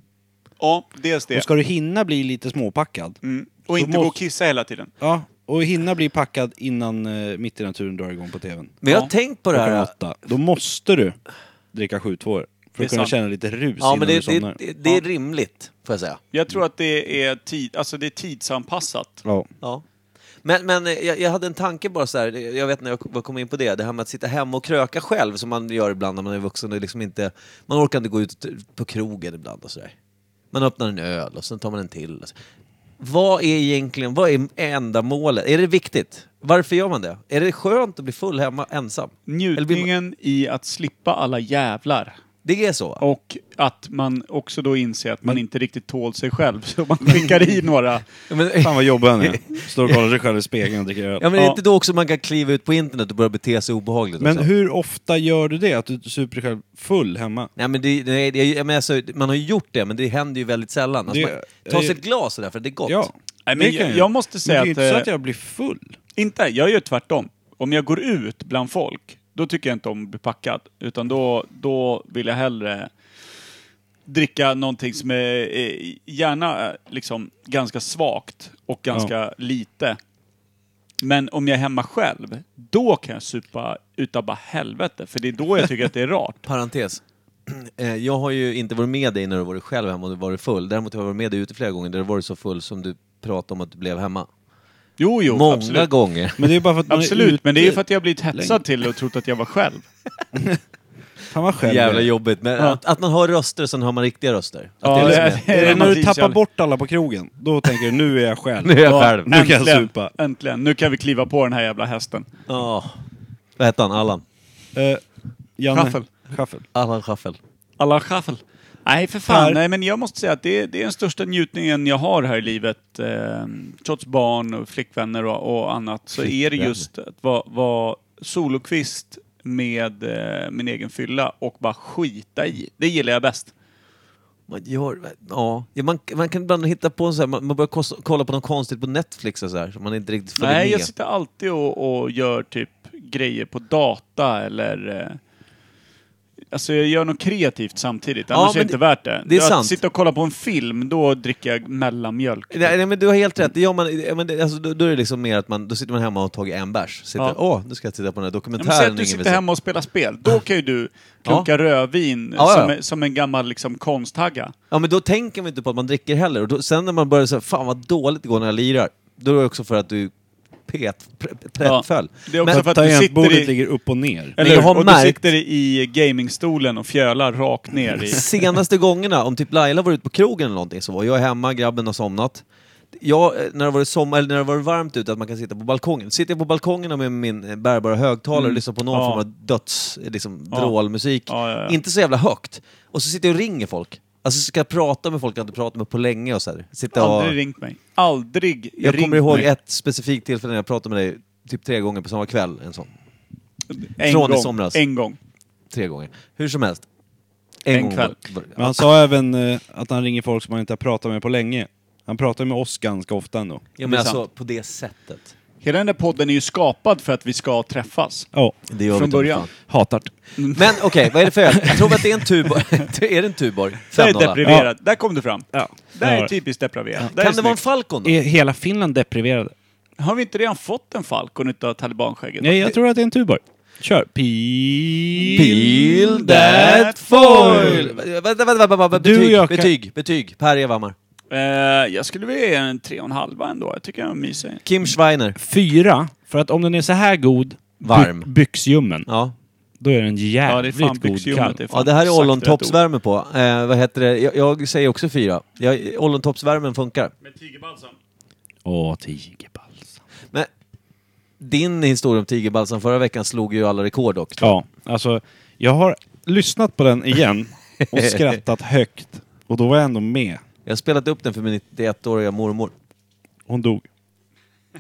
Speaker 2: Ja, dels det.
Speaker 1: Och ska du hinna bli lite småpackad.
Speaker 2: Mm. Och
Speaker 1: så
Speaker 2: inte gå och
Speaker 1: måste-
Speaker 2: kissa hela tiden.
Speaker 1: Ja, och hinna bli packad innan eh, Mitt i naturen drar igång på TVn.
Speaker 4: Men jag
Speaker 2: Ja.
Speaker 4: har tänkt på det
Speaker 1: Klockan
Speaker 4: här.
Speaker 1: åtta. Då måste du dricka 7 2
Speaker 2: Det
Speaker 1: För
Speaker 2: är
Speaker 1: att kunna
Speaker 2: sant.
Speaker 1: känna lite rus
Speaker 4: Ja,
Speaker 1: innan
Speaker 4: men
Speaker 1: du
Speaker 4: det, det,
Speaker 1: somnar.
Speaker 4: det, det är rimligt, får jag säga.
Speaker 2: Jag tror att det är, tid, alltså det är tidsanpassat.
Speaker 1: Ja.
Speaker 4: Ja. Men, men eh, jag, jag hade en tanke bara så här, eh, jag vet när jag kom- kom in på det, det här med att sitta hemma och kröka själv som man gör ibland när man är vuxen och liksom inte, man orkar inte gå ut på krogen ibland och sådär. Man öppnar en öl och sen tar man en till. och så. Vad är egentligen, vad är enda målet? Är det viktigt? Varför gör man det? Är det skönt att bli full hemma ensam? Eller blir man,
Speaker 2: Njutningen i att slippa alla jävlar.
Speaker 4: det är så? va?
Speaker 2: Och att man också då inser att man inte riktigt tål sig själv. Så man skickar i några.
Speaker 4: Ja, men,
Speaker 1: Fan vad jobbig han är. Står och kollar sig själv i spegeln och dricker öl.
Speaker 4: ja, men är
Speaker 2: Ja.
Speaker 4: det inte då också man kan kliva ut på internet och börja bete sig obehagligt?
Speaker 1: Men
Speaker 4: också?
Speaker 1: hur ofta gör du det? Att du super dig själv full hemma?
Speaker 4: Nej, men det, nej, det, jag menar, alltså, man har ju gjort det, men det händer ju väldigt sällan. Alltså,
Speaker 1: Det-
Speaker 4: man tar sig
Speaker 1: eh,
Speaker 4: ett glas sådär för att det är gott.
Speaker 1: Ja.
Speaker 2: Nej, men
Speaker 1: det
Speaker 2: jag-
Speaker 1: kan
Speaker 2: jag måste säga
Speaker 1: men det är inte
Speaker 2: att, eh,
Speaker 1: så att jag blir full.
Speaker 2: Inte? Jag gör tvärtom. Om jag går ut bland folk, då tycker jag inte om att bli packad. Utan då, då vill jag hellre dricka någonting som är eh, gärna eh, liksom ganska svagt och ganska lite. Men om jag är hemma själv, då kan jag supa utav bara helvete. För det är då jag tycker att det är rart.
Speaker 4: Parentes. Eh, Jag har ju inte varit med dig när du varit själv hemma och du varit full. Däremot har jag varit med dig ute flera gånger där du varit så full som du pratade om att du blev hemma.
Speaker 2: Jo, jo,
Speaker 4: Många
Speaker 2: absolut.
Speaker 4: gånger.
Speaker 1: Men det är bara för att man är
Speaker 2: Absolut,
Speaker 1: ute.
Speaker 2: men det är ju för att jag har blivit hetsad till och trott att jag var själv.
Speaker 1: Fan vad själv
Speaker 4: Jävla
Speaker 1: det är.
Speaker 4: jobbigt. Men
Speaker 2: Ja.
Speaker 4: att, att man hör röster och sen hör man riktiga röster. Att
Speaker 2: Ja,
Speaker 4: det är liksom
Speaker 2: det-
Speaker 4: en-
Speaker 1: Är det när du tappar
Speaker 2: Romantisk-
Speaker 1: bort alla på krogen? Då tänker du nu är jag själv.
Speaker 4: Nu är jag
Speaker 1: Ja,
Speaker 4: själv.
Speaker 1: Nu kan jag
Speaker 2: Äntligen,
Speaker 1: supa.
Speaker 2: äntligen. Nu kan vi kliva på den här jävla hästen.
Speaker 4: ja. Vad hette han? Allan?
Speaker 1: Eh, Janne.
Speaker 2: Schaffel.
Speaker 1: Schaffel.
Speaker 4: Allan Schaffel.
Speaker 2: Alla schaffel. Nej, för fan.
Speaker 1: Per.
Speaker 2: Nej, men jag måste säga att det, det är den största njutningen jag har här i livet. Eh, trots barn och flickvänner och, och annat så är det
Speaker 4: Flickvänner.
Speaker 2: just att vara vara solokvist med eh, min egen fylla och bara skita i. Det gillar jag bäst.
Speaker 4: Man gör, ja. Ja, man, man kan ibland hitta på så här, man, man börjar kosta, kolla på något konstigt på Netflix och så här, så man inte riktigt följer
Speaker 2: Nej,
Speaker 4: med.
Speaker 2: jag sitter alltid och, och gör typ grejer på data eller... Eh, alltså jag gör något kreativt samtidigt, annars är det
Speaker 4: men
Speaker 2: inte
Speaker 4: det-
Speaker 2: värt det.
Speaker 4: det är
Speaker 2: att
Speaker 4: sant.
Speaker 2: sitta och kolla på en film, då dricker jag mellanmjölk.
Speaker 4: Nej, nej, men du har helt rätt. Det gör man, ja, men det, alltså, då, då är det liksom mer att man, då sitter man hemma och har tagit en bärs. Sitter,
Speaker 2: Ja.
Speaker 4: Åh, nu ska jag titta på den här
Speaker 2: Ja, men säg att
Speaker 4: dokumentären.
Speaker 2: du
Speaker 4: ingen vill
Speaker 2: sitter
Speaker 4: se."
Speaker 2: hemma och spelar spel. Då kan ju du klunka rödvin
Speaker 4: Ja, ja.
Speaker 2: som, en- som en gammal liksom, konsthagga.
Speaker 4: Ja, men då tänker man inte på att man dricker heller. Och då, sen när man börjar säga fan vad dåligt det går när jag lirar, då är det också för att du pet, pre, pretföll.
Speaker 2: Det är också
Speaker 4: Men-
Speaker 2: för att du sitter
Speaker 1: Tangentbordet
Speaker 2: i, Eh,
Speaker 1: ligger upp och ner.
Speaker 2: eller,
Speaker 4: Men jag har
Speaker 2: och
Speaker 4: märkt-
Speaker 2: du sitter i gamingstolen och fjölar rakt ner i...
Speaker 4: Senaste gångerna, om typ Laila var ute på krogen eller någonting, så var jag hemma, grabben har somnat. Jag, eh, när det har varit, sommar, eller när det har varit varmt ute, att man kan sitta på balkongen. Sitter jag på balkongen med min eh, bärbara högtalare och lyssnar på någon
Speaker 2: Mm. Ja.
Speaker 4: form av döds, eh, liksom, vrålmusik.
Speaker 2: Ja, ja, ja.
Speaker 4: Inte så jävla högt. Och så sitter jag och ringer folk. Alltså ska jag prata med folk jag inte pratat med på länge och så här. Sitta och...
Speaker 2: Aldrig ringt mig. Aldrig
Speaker 4: Jag
Speaker 2: ringt
Speaker 4: kommer ihåg
Speaker 2: mig.
Speaker 4: ett specifikt tillfälle när jag pratade med dig typ tre gånger på samma kväll. En sån.
Speaker 2: en
Speaker 4: från i
Speaker 2: gång.
Speaker 4: somras.
Speaker 2: En gång.
Speaker 4: Tre gånger. Hur som helst.
Speaker 2: En
Speaker 4: gång
Speaker 2: kväll.
Speaker 4: var-
Speaker 1: Men han sa även eh, att han ringer folk som han inte har pratat med på länge. Han pratar ju med oss ganska ofta ändå.
Speaker 4: Ja,
Speaker 2: Det
Speaker 4: men
Speaker 2: är
Speaker 4: alltså på det sättet.
Speaker 2: Hela den där podden är ju skapad för att vi ska träffas.
Speaker 1: Ja.
Speaker 4: Det gör vi
Speaker 2: Från
Speaker 4: inte,
Speaker 2: början.
Speaker 4: fan.
Speaker 1: Hatar det.
Speaker 4: Men okej, vad är det för öl? Jag tror att det är en Tuborg. är det en Tuborg?
Speaker 2: Det är
Speaker 4: 500.
Speaker 2: depriverat. Där kom du fram.
Speaker 1: Ja.
Speaker 2: Det här
Speaker 1: Ja.
Speaker 2: är typiskt depriverat. Det här är
Speaker 4: Kan det vara en
Speaker 2: snyggt.
Speaker 4: Falcon då?
Speaker 1: Är hela Finland depriverade?
Speaker 2: Har vi inte redan fått en Falcon utav talibanskägget?
Speaker 1: Nej, jag tror att det är en Tuborg. Kör! Pil...
Speaker 4: Peel that foil! Vänta, vänta, vänta, vänta, vänta.
Speaker 1: Du och
Speaker 4: Betyg,
Speaker 1: jag kan-
Speaker 4: betyg, betyg. Per Evhammar.
Speaker 2: Eh, jag skulle vilja ge en tre och en halva ändå. Jag tycker den var mysig.
Speaker 4: Kim Schweiner.
Speaker 1: Fyra, för att om den är så här god,
Speaker 4: Varm.
Speaker 1: by- byxljummen,
Speaker 4: Ja.
Speaker 1: då är den
Speaker 2: Ja, det är
Speaker 1: jävligt
Speaker 2: fan
Speaker 1: god kall.
Speaker 2: byxljummet.
Speaker 4: ja, det här är ollontoppsvärme på. Eh, vad heter det? Jag, jag säger också fyra. Jag, ollontoppsvärmen funkar.
Speaker 2: Med tigerbalsam.
Speaker 1: Åh, tigerbalsam.
Speaker 4: Men din historia om tigerbalsam förra veckan slog ju alla rekord dock.
Speaker 1: Ja, alltså, jag har lyssnat på den igen och skrattat högt. Och då var jag ändå med.
Speaker 4: Jag har spelat upp den för min 91-åriga mormor.
Speaker 1: Hon dog.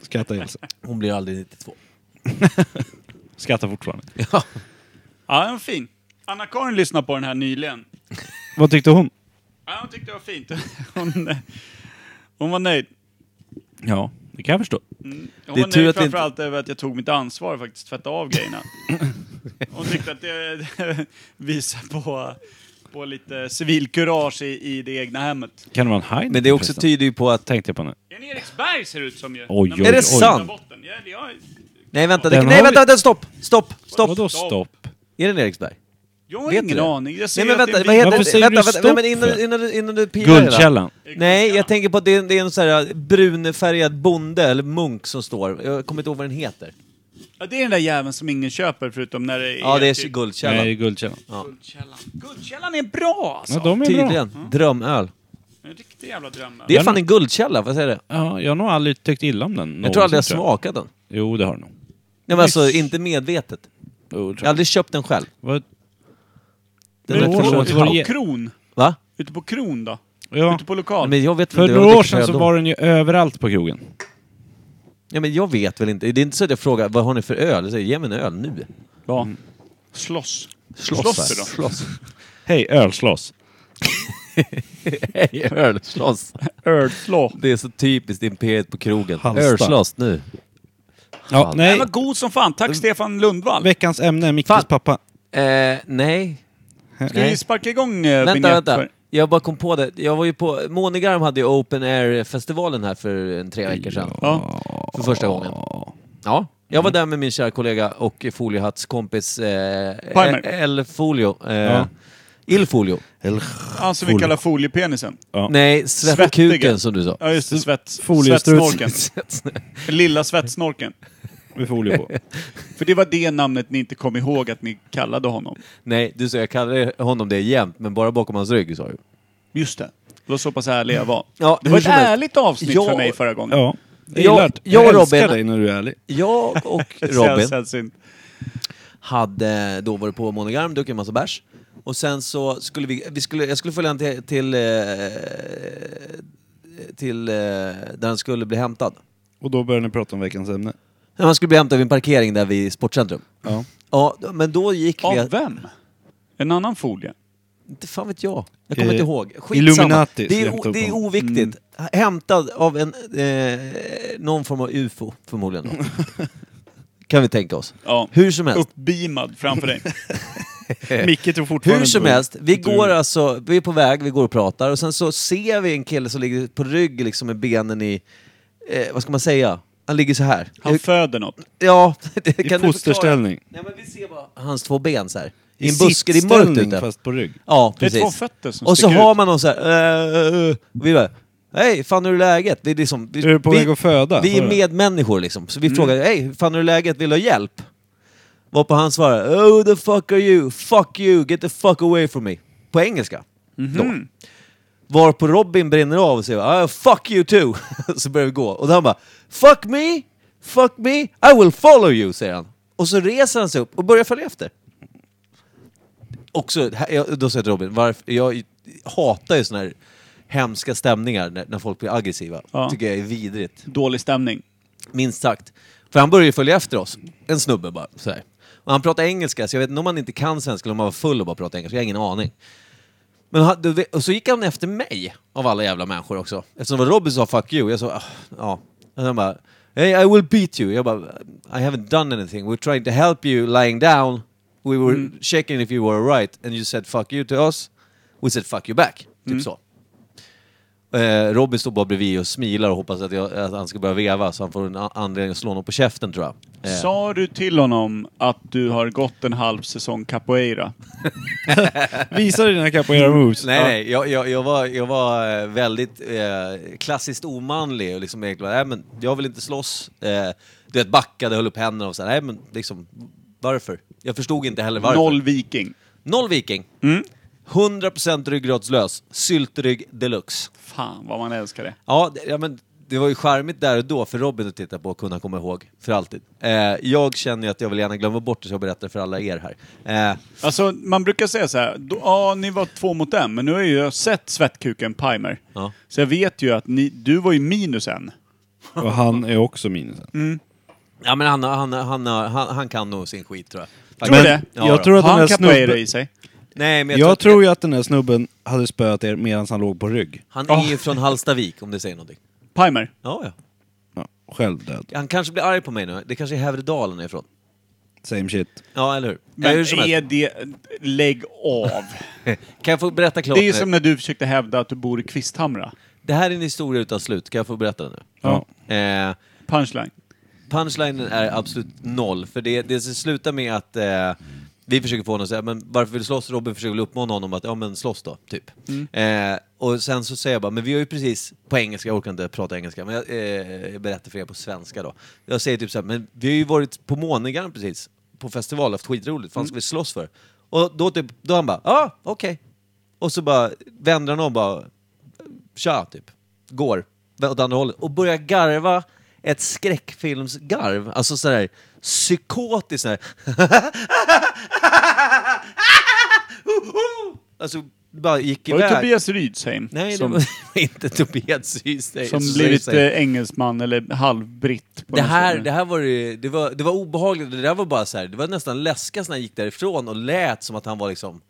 Speaker 1: Skrattar ihjäl sig.
Speaker 4: Hon blir aldrig 92.
Speaker 1: Skrattar fortfarande.
Speaker 2: Ja, den var fin. Anna-Karin lyssnade på den här nyligen.
Speaker 1: Vad tyckte hon?
Speaker 2: Ja, hon tyckte det var fint. Hon, hon var nöjd.
Speaker 1: Ja, det kan jag förstå.
Speaker 2: Hon
Speaker 4: Det är
Speaker 2: var
Speaker 4: tur
Speaker 2: nöjd
Speaker 4: att det inte-
Speaker 2: framförallt över att jag tog mitt ansvar och faktiskt tvättade av grejerna. Hon tyckte att det visar på, på lite civilkurage i, i det egna hemmet.
Speaker 1: Kan det vara en Heine?
Speaker 4: Men det är också tyder ju på att...
Speaker 1: Tänkte jag på nu.
Speaker 2: En Eriksberg ser det ut som ju.
Speaker 1: Oj,
Speaker 2: När
Speaker 1: oj,
Speaker 2: man-
Speaker 4: Är det
Speaker 1: oj.
Speaker 4: sant?
Speaker 2: botten. Jag, jag,
Speaker 4: Nej vänta, det,
Speaker 1: Den
Speaker 4: nej
Speaker 1: har
Speaker 4: vänta,
Speaker 1: vi-
Speaker 4: vänta, stopp! Stopp! Stopp!
Speaker 1: Vadå stopp?
Speaker 4: Är den Eriksberg?
Speaker 2: jag har
Speaker 4: Vet
Speaker 2: ingen
Speaker 4: du det?
Speaker 2: aning. Jag ser
Speaker 4: Nej men
Speaker 2: att det
Speaker 4: vänta,
Speaker 2: är
Speaker 4: vad
Speaker 2: vit-
Speaker 4: heter
Speaker 1: Varför
Speaker 4: det?
Speaker 1: säger du
Speaker 4: Vänta,
Speaker 1: stopp
Speaker 4: vänta, nej, men
Speaker 1: för?
Speaker 4: innan, innan, du- innan du pilar hela.
Speaker 1: Guldkällan.
Speaker 4: Nej, jag tänker på att det är, det är en sån här brunfärgad bonde eller munk som står. Jag kommer inte ihåg vad den heter.
Speaker 2: Ja, det är den där jäveln som ingen köper förutom när det är...
Speaker 4: Ja, det är
Speaker 2: typ-
Speaker 4: Guldkällan.
Speaker 1: Nej, det är Guldkällan.
Speaker 2: Guldkällan. Guldkällan är bra alltså!
Speaker 1: Ja, de är bra.
Speaker 4: Tydligen. Drömöl.
Speaker 2: En riktig jävla dröm.
Speaker 4: Det är
Speaker 1: Mm. Den-
Speaker 4: fan en guldkälla, vad säger du?
Speaker 1: Ja, jag har nog aldrig tyckt illa om den.
Speaker 4: Jag tror aldrig
Speaker 1: någonsin,
Speaker 4: jag smakat den.
Speaker 1: Jo, det har du nog.
Speaker 4: Nej men alltså, inte medvetet.
Speaker 1: Jo, det tror
Speaker 4: Jag har aldrig köpt den själv.
Speaker 1: Vad-
Speaker 4: Den
Speaker 1: Men
Speaker 4: är
Speaker 1: det
Speaker 4: från-
Speaker 1: var-
Speaker 2: Ute
Speaker 1: det var-
Speaker 4: från-
Speaker 2: på
Speaker 1: ge-
Speaker 2: Kron.
Speaker 4: Va?
Speaker 2: Ute på Kron då?
Speaker 1: Ja.
Speaker 2: Ute på lokal.
Speaker 4: Men jag vet
Speaker 1: För
Speaker 4: inte, jag
Speaker 1: några år
Speaker 4: dricker
Speaker 1: sedan
Speaker 4: öl
Speaker 1: så
Speaker 4: då.
Speaker 1: var den ju överallt på krogen.
Speaker 4: Ja, men jag vet väl inte. Det är inte så att jag frågar vad har ni för öl? Jag säger ge mig en öl nu.
Speaker 2: Ja. Slåss.
Speaker 4: Mm. Slåss.
Speaker 2: Slåss
Speaker 4: här.
Speaker 2: då?
Speaker 4: Slåss.
Speaker 1: Hej, ölslåss.
Speaker 4: Hej, öl. Slåss.
Speaker 2: Ölslå.
Speaker 4: Det är så typiskt Imperiet på krogen.
Speaker 1: Halsta.
Speaker 4: Ölslåss nu.
Speaker 1: Ja,
Speaker 2: Den
Speaker 1: nej.
Speaker 2: var god som fan.
Speaker 4: Mm.
Speaker 2: Tack Stefan Lundvall.
Speaker 1: Veckans ämne är Mickes
Speaker 4: Fan.
Speaker 1: pappa.
Speaker 4: Eh, nej.
Speaker 2: Ska vi sparka igång eh,
Speaker 4: Vänta,
Speaker 2: vignett
Speaker 4: vänta.
Speaker 2: för-
Speaker 4: Jag bara kom på det. Jag var ju på... Monegarm hade ju Open Air-festivalen här för en tre veckor sedan.
Speaker 2: Ja.
Speaker 4: För första gången. Ja. Jag var där med min kära kollega och Foliehatts kompis eh,
Speaker 2: Palmer.
Speaker 4: El Folio. Eh,
Speaker 1: Ja.
Speaker 4: Il Folio.
Speaker 2: Han som Alltså, vi
Speaker 1: Folie.
Speaker 2: kallar foliepenisen.
Speaker 4: Nej,
Speaker 2: Svettiga.
Speaker 4: Svettkuken som du sa.
Speaker 2: Ja just det, svett,
Speaker 1: Foliestruts.
Speaker 2: svettsnorken. Lilla svettsnorken.
Speaker 1: Med folie på.
Speaker 2: För det var det namnet ni inte kom ihåg att ni kallade honom.
Speaker 4: Nej, du sa jag kallar honom det jämt, men bara bakom hans rygg sa du.
Speaker 2: Just det. Det var så pass ärlig jag var.
Speaker 4: Ja,
Speaker 2: det
Speaker 4: hur
Speaker 2: var ett
Speaker 4: som helst.
Speaker 2: ärligt avsnitt
Speaker 4: Ja.
Speaker 2: för mig förra gången.
Speaker 1: Ja. Jag
Speaker 4: Jag-
Speaker 1: gillar det.
Speaker 4: jag och
Speaker 1: älskar
Speaker 4: Robin-
Speaker 1: dig när du är ärlig.
Speaker 4: Jag och
Speaker 2: Det är
Speaker 4: Robin
Speaker 2: sällsynt.
Speaker 4: hade då varit på Monogarm, druckit en massa bärs. Och sen så skulle vi, vi skulle, jag skulle följa honom till, till, eh, till eh, där han skulle bli hämtad.
Speaker 1: Och då börjar ni prata om veckans ämne.
Speaker 4: När han skulle bli hämtad vid en parkering där vid Sportcentrum.
Speaker 1: Ja.
Speaker 4: Ja, men då gick vi...
Speaker 2: Av vem? En annan folie?
Speaker 4: Inte fan vet jag. Jag kommer
Speaker 1: Eh,
Speaker 4: inte ihåg. Skitsamma.
Speaker 1: Illuminati,
Speaker 4: Det är,
Speaker 1: släppte
Speaker 4: o-
Speaker 1: upp
Speaker 4: det är
Speaker 1: honom. Mm.
Speaker 4: oviktigt. Hämtad av en, eh, någon form av UFO, förmodligen. Då. kan vi tänka oss.
Speaker 2: Ja.
Speaker 4: Hur som helst.
Speaker 2: Uppbeamad framför dig.
Speaker 1: Micke tror fortfarande
Speaker 4: Hur som
Speaker 1: på-
Speaker 4: helst, vi
Speaker 1: tror-
Speaker 4: går alltså, vi är på väg, vi går och pratar och sen så ser vi en kille som ligger på rygg liksom med benen i, eh, vad ska man säga? Han ligger så här.
Speaker 2: Han föder något.
Speaker 4: ja, det,
Speaker 1: I
Speaker 4: kan du förklara?
Speaker 1: fosterställning.
Speaker 4: Nej men vi ser bara hans två ben så här. I en
Speaker 1: sittställning,
Speaker 4: buske, det är mörkt ute.
Speaker 1: fast på rygg.
Speaker 4: Ja,
Speaker 2: Det är
Speaker 4: precis.
Speaker 2: två fötter som
Speaker 4: Och så
Speaker 2: sticker
Speaker 4: har
Speaker 2: ut.
Speaker 4: man någon så här... eh, eh, eh. Och vi bara... Hej, fan hur är läget? Vi, är liksom, vi,
Speaker 1: Är du på
Speaker 4: vi,
Speaker 1: väg att föda?
Speaker 4: Vi
Speaker 1: Sa
Speaker 4: är
Speaker 1: du?
Speaker 4: medmänniskor liksom. Så vi frågar, hej, hur fan hur är läget? Vill du ha hjälp? Varpå han svarar, oh who the fuck are you? Fuck you, get the fuck away from me. På engelska. Då. Varpå Robin brinner av och säger, "Ah, fuck you too. så börjar vi gå. Och då han bara, fuck me, fuck me, I will follow you, säger han. Och så reser han sig upp och börjar följa efter också, här- jag- då säger jag till Robin, varför, jag hatar ju såna här hemska stämningar när, när folk blir aggressiva.
Speaker 2: Ja.
Speaker 4: tycker jag är vidrigt.
Speaker 2: Dålig stämning.
Speaker 4: Minst sagt. För han började ju följa efter oss. En snubbe bara. Så här. Och han pratar engelska, så jag vet inte om han inte kan svenska eller om han var full och bara pratade engelska. Jag har ingen aning. Men han, du vet- och så gick han efter mig, av alla jävla människor också. Eftersom det var Robin som sa 'fuck you', jag sa "Ah, ja. Och han bara 'Hey, I will beat you' Jag bara 'I haven't done anything, we're trying to help you lying down, we were checking if you were alright, and you said 'fuck you' to us, we said 'fuck you back' Typ så. Eh, Robin står bara bredvid och smilar och hoppas att, jag, att han ska börja veva så han får en a- anledning att slå honom på käften tror jag. Eh,
Speaker 2: Sa du till honom att du har gått en halv säsong capoeira?
Speaker 1: Visa dina capoeira moves.
Speaker 4: Nej, nej, jag, jag, jag, var, jag var eh, väldigt eh, klassiskt omanlig och liksom egentligen, nej men jag vill inte slåss. Eh, du vet, backade, höll upp händerna och så här, nej men liksom, varför? Jag förstod inte heller varför.
Speaker 2: Noll Mm. viking.
Speaker 4: Noll viking. 100% ryggradslös, syltrygg deluxe.
Speaker 2: Fan vad man älskar det.
Speaker 4: Ja, det, ja, men det var ju charmigt där och då för Robin att titta på och kunna komma ihåg för alltid. Eh, jag känner ju att jag vill gärna glömma bort det så jag berättar för alla er här. Eh,
Speaker 2: Alltså man brukar säga så här, då, ja ni var två mot en, men nu har ju jag sett svettkuken Pimer.
Speaker 4: Ja.
Speaker 2: Så jag vet ju att ni, du var ju minus en.
Speaker 1: Och han är också minusen.
Speaker 4: ja men han, han, han, han, han, han kan nog sin skit tror jag.
Speaker 2: Tror du
Speaker 4: Faktiskt.
Speaker 2: det?
Speaker 4: Ja,
Speaker 1: jag
Speaker 4: då.
Speaker 1: tror att
Speaker 2: Har
Speaker 1: den här
Speaker 2: han capoeira
Speaker 1: snubben...
Speaker 2: i sig?
Speaker 4: Nej, men
Speaker 1: Jag,
Speaker 4: jag, tror,
Speaker 1: tror ju att den här snubben hade spöat er medan han låg på rygg.
Speaker 4: han är ju från Hallstavik om det säger någonting.
Speaker 2: Pimer?
Speaker 4: Ja, ja.
Speaker 1: Ja, själv död.
Speaker 4: Han kanske blir arg på mig nu. Det kanske är Hävredalen jag är ifrån.
Speaker 1: Same shit.
Speaker 4: Ja, eller hur?
Speaker 2: Men
Speaker 4: ja, hur som
Speaker 2: är
Speaker 4: helst.
Speaker 2: det... Lägg av.
Speaker 4: Kan jag få berätta klart
Speaker 2: Det är ju
Speaker 4: det,
Speaker 2: som
Speaker 4: nu?
Speaker 2: när du försökte hävda att du bor i Kvisthamra.
Speaker 4: det här är en historia utan slut. Kan jag få berätta den
Speaker 1: Ja.
Speaker 4: nu? Eh,
Speaker 2: Punchline.
Speaker 4: punchlinen är absolut noll, för det, det slutar med att eh, vi försöker få honom att säga men varför vill du slåss? Robin försöker väl uppmana honom att ja men slåss då, typ. Eh, och sen så säger jag bara, men vi har ju precis, på engelska, jag orkar inte prata engelska, men jag eh, berättar för er på svenska då. Jag säger typ så här, men vi har ju varit på Månegarn precis, på festival, haft skitroligt, fan ska vi slåss för? Och då typ, då han bara, ja ah, okej. Och så bara vänder han om och bara, tja, typ. Går åt andra hållet och börjar garva ett skräckfilmsgarv. Alltså sådär psykotiskt sådär. Alltså bara gick
Speaker 2: Var det
Speaker 4: iväg.
Speaker 2: Tobias Rydsheim?
Speaker 4: Nej, det
Speaker 2: som,
Speaker 4: var inte Tobias Hystad.
Speaker 2: som blivit eh, engelsman eller halvbritt. på
Speaker 4: Det
Speaker 2: något
Speaker 4: här,
Speaker 2: sätt.
Speaker 4: det här var, ju- det var, det var obehagligt, det där var bara så här, det var nästan läskigt när han gick därifrån och lät som att han var liksom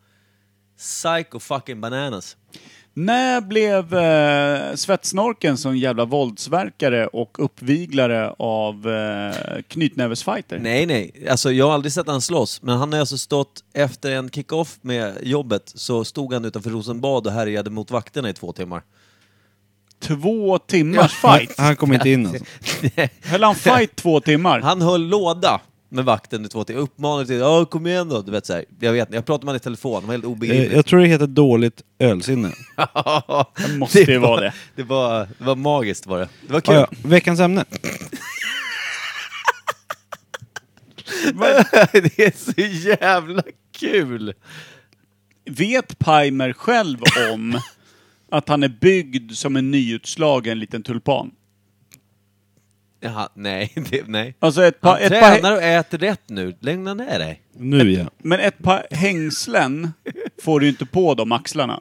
Speaker 4: psycho fucking bananas.
Speaker 2: När blev eh, Svetsnorken som jävla våldsverkare och uppviglare av eh, knytnävesfighter?
Speaker 4: Nej, nej. Alltså, jag har aldrig sett han slåss, men han har alltså stått efter en kick-off med jobbet så stod han utanför Rosenbad och härjade mot vakterna i två timmar.
Speaker 2: Två timmars
Speaker 1: Han,
Speaker 2: fight?
Speaker 1: han kom inte in alltså.
Speaker 2: Höll han fight två timmar?
Speaker 4: Han höll låda med vakten i två timmar, uppmanade till "Ja, kom igen då”. Du vet, så här. Jag vet inte, jag pratade med honom i telefon, det var helt
Speaker 1: Eh,
Speaker 4: obegripligt.
Speaker 1: Jag tror det heter dåligt ölsinne.
Speaker 2: Det måste ju vara det.
Speaker 4: Det var, det var magiskt var det. Det var kul.
Speaker 1: Ah, ja. Veckans ämne.
Speaker 4: det är så jävla kul!
Speaker 2: Vet Pimer själv om att han är byggd som en nyutslagen liten tulpan?
Speaker 4: Jaha, nej, det, nej.
Speaker 2: Alltså ett par...
Speaker 4: Han
Speaker 2: Ett par
Speaker 4: tränar och äter rätt nu. Lugna ner dig.
Speaker 1: Nu ja.
Speaker 2: men ett par hängslen får du ju inte på de axlarna.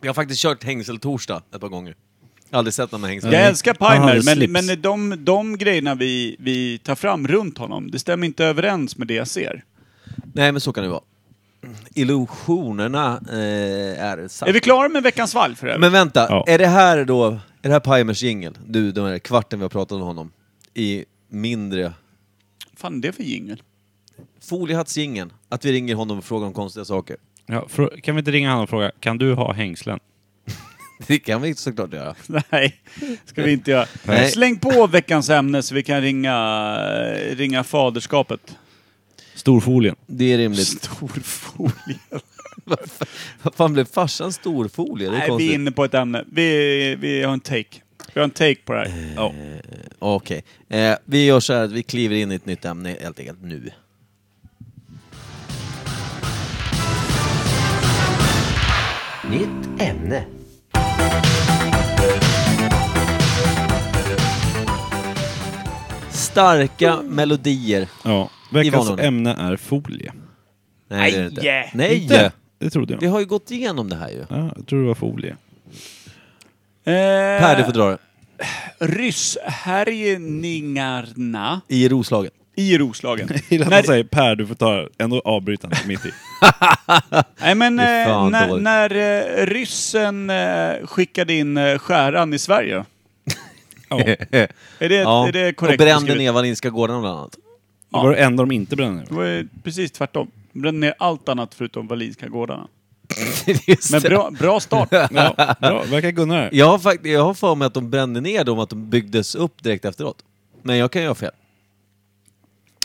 Speaker 4: Jag har faktiskt kört hängseltorsdag ett par gånger. Jag har aldrig sett någon med hängsel.
Speaker 2: Jag älskar Pimer,
Speaker 1: Aha, slips.
Speaker 2: men, men de, de grejerna vi, vi tar fram runt honom, det stämmer inte överens med det jag ser.
Speaker 4: Nej, men så kan det vara. Illusionerna eh, är sant.
Speaker 2: Är vi klara med veckans valg för övrigt?
Speaker 4: Men vänta,
Speaker 1: Ja.
Speaker 4: är det här då, är det här Pimers jingel? Du, den här kvarten vi har pratat om honom. I mindre
Speaker 2: fan är det för jingel?
Speaker 4: foliehattsjingeln. Att vi ringer honom och frågar om konstiga saker.
Speaker 1: ja frå- kan vi inte ringa honom och fråga, kan du ha hängslen?
Speaker 4: Det kan vi såklart göra.
Speaker 2: Nej, ska vi inte göra.
Speaker 4: Nej.
Speaker 2: Släng på veckans ämne så vi kan ringa, ringa faderskapet.
Speaker 1: Storfolien.
Speaker 4: Det är rimligt.
Speaker 2: Storfolie.
Speaker 4: Vad fan blev farsan storfolie? Det är
Speaker 2: Nej, vi
Speaker 4: konstigt.
Speaker 2: är inne på ett ämne. Vi, vi har en take. Vi har en take på det
Speaker 4: Eh,
Speaker 2: här. Ja.
Speaker 4: Okej. Eh, vi gör så här att vi kliver in i ett nytt ämne helt enkelt nu.
Speaker 8: Nytt ämne.
Speaker 4: Starka melodier.
Speaker 1: Ja. Veckans
Speaker 4: vanor.
Speaker 1: ämne är folie.
Speaker 4: Nej, det är det inte.
Speaker 2: Nej.
Speaker 4: Nej!
Speaker 1: Inte? Det trodde
Speaker 4: Vi
Speaker 1: jag.
Speaker 4: har ju gått igenom det här ju.
Speaker 1: Ja, jag tror det var folie.
Speaker 2: Eh,
Speaker 4: Per, du får dra det.
Speaker 2: Rysshärjningarna
Speaker 4: I Roslagen.
Speaker 2: i Roslagen.
Speaker 1: Gillar att
Speaker 2: När-
Speaker 1: man säger Per, du får ta ändå avbryta inte mitt i.
Speaker 2: Nej men eh,
Speaker 4: Det är fan
Speaker 2: när,
Speaker 4: dåligt.
Speaker 2: när eh, ryssen eh, skickade in eh, skäran i Sverige.
Speaker 1: Ja.
Speaker 2: Är det,
Speaker 4: Ja.
Speaker 2: är det
Speaker 4: och
Speaker 2: korrekt
Speaker 4: brände
Speaker 2: beskrivet?
Speaker 4: ner Wallinska gården bland annat.
Speaker 1: Det var det enda de inte brände ner.
Speaker 2: Det var ju precis tvärtom. De brände ner allt annat förutom Wallinska gårdarna.
Speaker 4: Just
Speaker 2: Men
Speaker 4: det.
Speaker 2: bra, bra start.
Speaker 1: Ja, bra. Verkar Gunnar här.
Speaker 4: Jag har, fakt- jag har för mig att de brände ner dem, att de byggdes upp direkt efteråt. Men jag kan ju ha fel.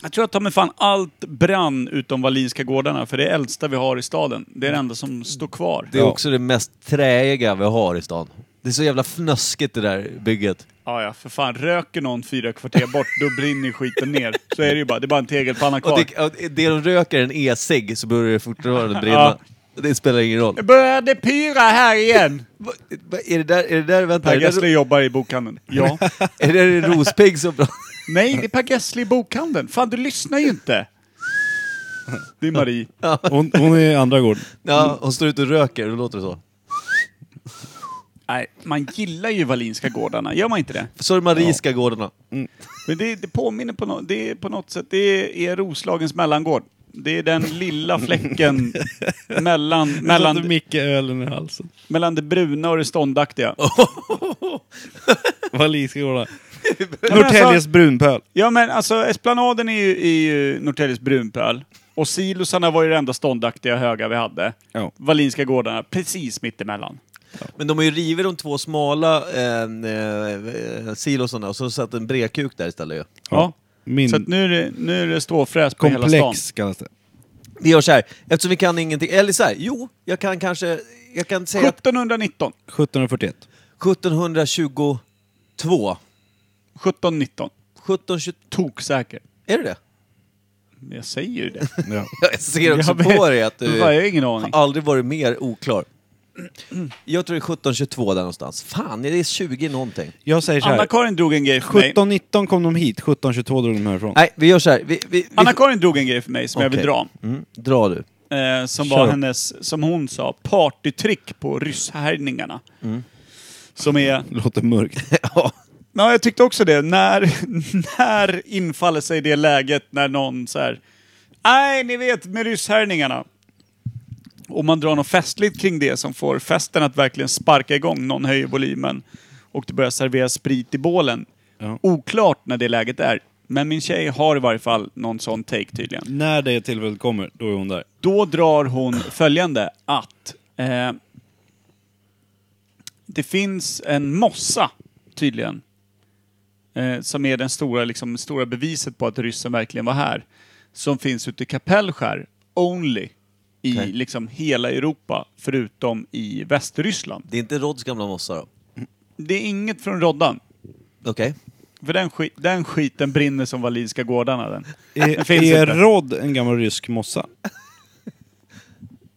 Speaker 2: Jag tror att ta mig fan allt brann utom Wallinska gårdarna, för det är äldsta vi har i staden. Det är det enda som står kvar.
Speaker 4: Det är också det mest träiga vi har i stan. Det är så jävla fnöskigt det där bygget.
Speaker 2: Ja, ja, för fan. Röker någon fyra kvarter bort, då brinner ju skiten ner. Så är det ju bara. Det är bara en tegelpanna
Speaker 4: Och
Speaker 2: kvar.
Speaker 4: det, och det de röker är en e-cigg så börjar det fortfarande brinna.
Speaker 2: Ja.
Speaker 4: Det spelar ingen roll.
Speaker 2: Det började pyra här igen!
Speaker 4: Va- va- Är det där, är det där, vänta,
Speaker 2: Per
Speaker 4: är det, där,
Speaker 2: Gessle jobbar i bokhandeln. Ja.
Speaker 4: är det där Rospigg som pratar?
Speaker 2: Nej, det är Per Gessle i bokhandeln. Fan, du lyssnar ju inte! Det är Marie.
Speaker 1: Hon, hon är i andra gården.
Speaker 4: Ja, hon står ute och röker, då låter det så.
Speaker 2: Nej, man gillar ju Wallinska gårdarna. Gör man inte det?
Speaker 4: Så är det Mariska gårdarna.
Speaker 2: Men det, det påminner på, nå- det är på något sätt, det är Roslagens mellangård. Det är den lilla fläcken mellan,
Speaker 1: Mellan
Speaker 2: mellan,
Speaker 1: Micke ölen i halsen.
Speaker 2: mellan det bruna och det ståndaktiga.
Speaker 1: Wallinska gården.
Speaker 2: men
Speaker 1: Norrtäljes
Speaker 2: alltså-
Speaker 1: brunpöl.
Speaker 2: Ja men alltså Esplanaden är ju, är ju Norrtäljes brunpöl. Och silosarna var ju det enda ståndaktiga höga vi hade.
Speaker 1: Ja.
Speaker 2: Wallinska gårdarna, precis mittemellan.
Speaker 4: Men de har ju rivit de två smala eh, eh, silosarna och så satt en bredkuk där istället ju.
Speaker 2: Ja.
Speaker 1: Min
Speaker 2: Så att nu är det, nu är det ståfräs på hela stan.
Speaker 1: komplex kallas det.
Speaker 4: Vi gör så här, eftersom vi kan ingenting, eller så här, jo, jag kan kanske, jag kan säga att
Speaker 2: 1719.
Speaker 1: 1741.
Speaker 4: 1722,
Speaker 2: 1719.
Speaker 4: 1720,
Speaker 2: Toksäker.
Speaker 4: är det det?
Speaker 2: Jag säger ju det.
Speaker 1: Ja.
Speaker 4: Jag ser också
Speaker 2: Jag vet-
Speaker 4: på dig att du
Speaker 2: Jag har ingen aning.
Speaker 4: har aldrig varit mer oklar. Jag tror det är 1722 där någonstans. Fan, är det 20 någonting?
Speaker 1: Jag säger så här.
Speaker 2: Anna-Karin drog en grej för mig.
Speaker 1: 1719 kom de hit, 1722 drog de härifrån.
Speaker 4: Nej, vi gör så här. Vi, vi, vi,
Speaker 2: Anna-Karin drog en grej för mig som jag vill
Speaker 4: Okej.
Speaker 2: dra.
Speaker 4: Mm, dra du.
Speaker 2: Eh, som
Speaker 1: Kör
Speaker 2: var
Speaker 1: då.
Speaker 2: hennes, som hon sa, partytrick på rysshärjningarna.
Speaker 4: Mm.
Speaker 2: Som är...
Speaker 1: Låter mörkt.
Speaker 4: ja.
Speaker 2: Ja, jag tyckte också det. När, när infaller sig det läget när någon så här... Nej, ni vet med rysshärjningarna. Och man drar något festligt kring det som får festen att verkligen sparka igång. Någon höjer volymen och det börjar serveras sprit i bålen.
Speaker 1: Ja.
Speaker 2: Oklart när det läget är. Men min tjej har i varje fall någon sån take tydligen.
Speaker 1: När det tillfället kommer, då är hon där.
Speaker 2: Då drar hon följande att eh, det finns en mossa, tydligen, eh, som är den stora, liksom, stora beviset på att ryssen verkligen var här, som finns ute i Kapellskär, only, i
Speaker 4: Okej.
Speaker 2: liksom hela Europa, förutom i Västryssland.
Speaker 4: Det är inte Rods gamla mossa då?
Speaker 2: Det är inget från Roddan.
Speaker 4: Okej.
Speaker 2: För den, skit, den skiten brinner som Wallinska gårdarna den. Den
Speaker 1: Är,
Speaker 2: finns
Speaker 1: är
Speaker 2: inte.
Speaker 1: Rodd en gammal rysk mossa?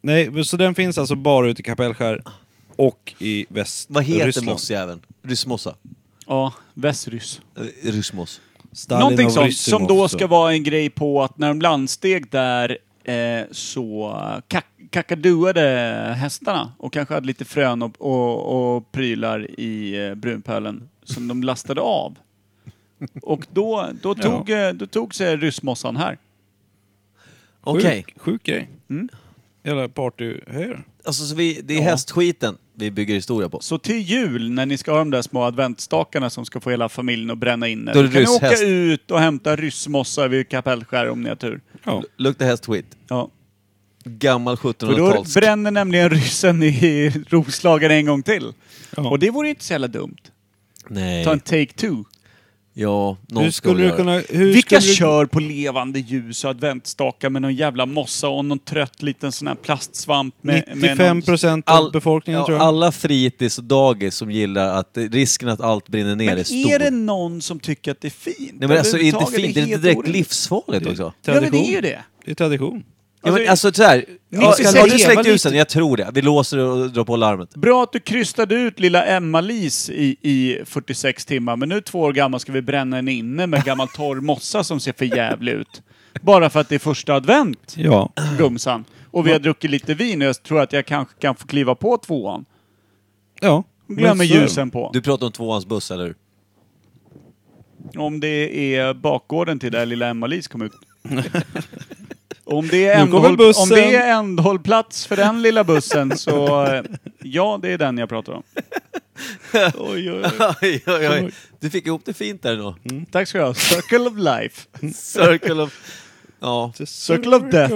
Speaker 1: Nej, så den finns alltså bara ute i Kapellskär och i Västryssland.
Speaker 4: Vad heter mossjäveln? Ryssmossa?
Speaker 2: Ja, västryss.
Speaker 4: Eh, Ryssmoss.
Speaker 1: Stalin
Speaker 2: Någonting
Speaker 1: och
Speaker 2: sånt
Speaker 1: Ryssimov,
Speaker 2: som då
Speaker 1: så.
Speaker 2: ska vara en grej på att när de landsteg där eh, så kak kakaduade hästarna och kanske hade lite frön och, och, och prylar i eh, brunpölen som de lastade av. Och då, då, tog, eh, då tog sig ryssmossan här.
Speaker 4: Okej.
Speaker 1: Sjuk, sjuk grej. Jävla partyhöjare.
Speaker 4: Alltså, så vi, det är
Speaker 2: Ja.
Speaker 4: hästskiten vi bygger historia på.
Speaker 2: Så till jul när ni ska ha de där små adventstakarna som ska få hela familjen att bränna in er,
Speaker 4: Då är
Speaker 2: då
Speaker 4: det
Speaker 2: kan ni åka
Speaker 4: rysshäst.
Speaker 2: ut och hämta ryssmossa vid Kapellskär om ni har tur.
Speaker 1: Ja.
Speaker 4: Luktar hästskit.
Speaker 2: Ja.
Speaker 4: Gammal
Speaker 2: För då
Speaker 4: 1700-tals...
Speaker 2: bränner nämligen ryssen i Roslagen en gång till.
Speaker 1: Ja.
Speaker 2: Och det vore inte så jävla dumt.
Speaker 4: Nej.
Speaker 2: Ta en take-two.
Speaker 4: Ja, någon
Speaker 1: Hur
Speaker 4: ska väl
Speaker 1: skulle du
Speaker 4: göra det.
Speaker 1: kunna... Hur
Speaker 2: Vilka
Speaker 1: skulle du-
Speaker 2: kör på levande ljus och adventstakar med någon jävla mossa och någon trött liten sån här plastsvamp med... med
Speaker 1: 95
Speaker 2: någon...
Speaker 1: procent av
Speaker 4: All,
Speaker 1: befolkningen
Speaker 4: ja,
Speaker 1: tror jag.
Speaker 4: alla fritids och dagis som gillar att eh, risken att allt brinner ner
Speaker 2: Men
Speaker 4: är stor.
Speaker 2: är det någon som tycker att det är fint?
Speaker 4: Nej men alltså, det är inte
Speaker 2: Överhuvudtaget,
Speaker 4: fint. Det är inte
Speaker 2: helt
Speaker 4: direkt
Speaker 2: orimligt.
Speaker 4: livsfarligt också.
Speaker 2: Ja men det är ju det.
Speaker 1: Det är tradition.
Speaker 4: Ja, men,
Speaker 2: Alltså,
Speaker 4: alltså såhär, ja,
Speaker 2: ska
Speaker 4: har du
Speaker 2: leva
Speaker 4: släckt
Speaker 2: lite.
Speaker 4: ljusen? Jag tror det. Vi låser och drar på larmet.
Speaker 2: Bra att du krystade ut lilla Emma-Lis i, i 46 timmar, men nu två år gammal ska vi bränna henne inne med gammal torr mossa som ser för jävlig ut. Bara för att det är första advent,
Speaker 1: Ja.
Speaker 2: gumsan. Och vi har druckit lite vin och jag tror att jag kanske kan få kliva på tvåan.
Speaker 1: Ja.
Speaker 2: Glömmer
Speaker 1: Men så är det.
Speaker 2: ljusen på.
Speaker 4: Du pratar om tvåans buss, eller hur?
Speaker 2: Om det är bakgården till där lilla Emma-Lis kom ut. Om det, är
Speaker 1: Nu kommer
Speaker 2: ändhåll,
Speaker 1: bussen.
Speaker 2: om det är ändhållplats för den lilla bussen så eh, ja, det är den jag pratar om. Oj, oj, oj.
Speaker 4: Oj, oj, oj. Du fick ihop det fint där då.
Speaker 2: Tack ska du ha. Circle of life.
Speaker 1: Mm.
Speaker 4: Circle of... Ja,
Speaker 2: Circle of death.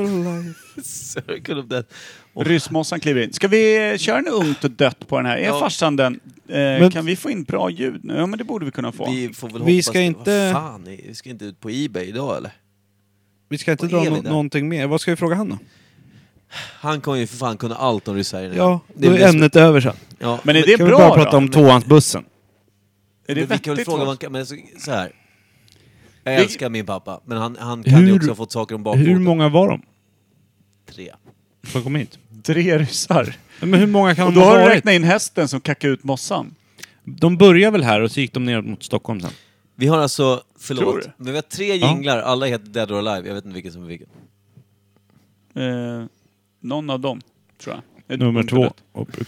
Speaker 4: circle of death.
Speaker 2: Ryssmossan kliver in. Ska vi eh, köra en ungt och dött på den här? Är
Speaker 4: Ja.
Speaker 2: farsan den? Eh,
Speaker 1: Men-
Speaker 2: kan vi få in bra ljud nu? Ja, men det borde vi kunna få.
Speaker 4: Vi får väl
Speaker 1: Vi
Speaker 4: hoppas
Speaker 1: ska
Speaker 4: det.
Speaker 1: inte-
Speaker 4: Vad fan, vi ska inte ut på Ebay idag eller?
Speaker 1: Vi ska inte
Speaker 4: Vad
Speaker 1: dra
Speaker 4: är vi
Speaker 1: nå-
Speaker 4: där?
Speaker 1: någonting mer. Vad ska vi fråga han då?
Speaker 4: Han kommer ju för fan kunna allt om ryssarna.
Speaker 1: Ja,
Speaker 4: det
Speaker 1: då är
Speaker 4: blir-
Speaker 1: ämnet över sen.
Speaker 4: Ja.
Speaker 2: Men är det
Speaker 1: Kan vi
Speaker 2: bra
Speaker 1: bara prata
Speaker 2: då?
Speaker 1: om tvåansbussen?
Speaker 2: Är det
Speaker 4: Men vi kan väl
Speaker 2: vettigt?
Speaker 4: fråga
Speaker 2: då?
Speaker 4: vad han kan, men så, så här. Jag
Speaker 2: Vi-
Speaker 4: älskar min pappa, men han, han kan ju
Speaker 1: Hur-
Speaker 4: också ha fått saker om
Speaker 1: Hur
Speaker 4: bakfoten.
Speaker 1: många var de
Speaker 4: Tre.
Speaker 1: som kom hit?
Speaker 2: Tre ryssar.
Speaker 1: Men hur många kan
Speaker 2: Och
Speaker 1: de
Speaker 2: då
Speaker 1: ha
Speaker 2: har du
Speaker 1: varit?
Speaker 2: räknat in hästen som kackade ut mossan.
Speaker 1: De började väl här och så gick de ner mot Stockholm sen?
Speaker 4: Vi har alltså,
Speaker 2: Tror
Speaker 4: förlåt,
Speaker 2: du?
Speaker 4: men vi har tre jinglar, alla heter Dead or Alive, jag vet inte vilken som är vilken.
Speaker 2: Eh, någon av dem, tror jag. Är
Speaker 1: Nummer
Speaker 2: ungt
Speaker 1: två.
Speaker 2: och dött.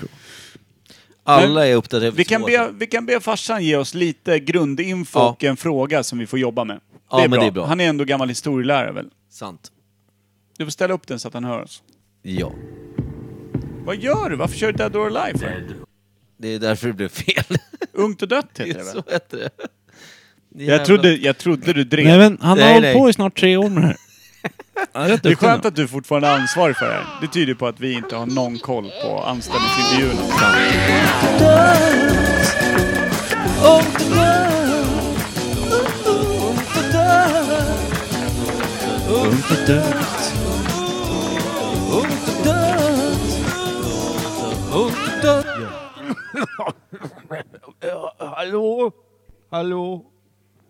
Speaker 4: Alla är uppdaterade för
Speaker 2: Vi kan,
Speaker 4: två år sedan.
Speaker 2: be, vi kan be farsan ge oss lite grundinfo
Speaker 4: Ja.
Speaker 2: och en fråga som vi får jobba med.
Speaker 4: Ja, men det är bra.
Speaker 2: Han är ändå gammal historielärare väl?
Speaker 4: Sant.
Speaker 2: Du får ställa upp den så att han hör oss.
Speaker 4: Ja.
Speaker 2: Vad gör du? Varför kör du Dead or Alive? för?
Speaker 4: Det är därför det blev fel.
Speaker 2: Ungt och dött
Speaker 4: Det
Speaker 2: heter
Speaker 4: är
Speaker 2: det väl?
Speaker 4: så heter det.
Speaker 2: Jag trodde, jag trodde du drev.
Speaker 1: Nej men han
Speaker 4: Nej,
Speaker 1: har hållit
Speaker 4: nej.
Speaker 1: på i snart tre år med det här. Han är rätt
Speaker 2: det är
Speaker 1: duktig
Speaker 2: skönt
Speaker 1: nu.
Speaker 2: att du fortfarande är ansvarig för det här. Det tyder på att vi inte har någon koll på anställningsintervjuerna.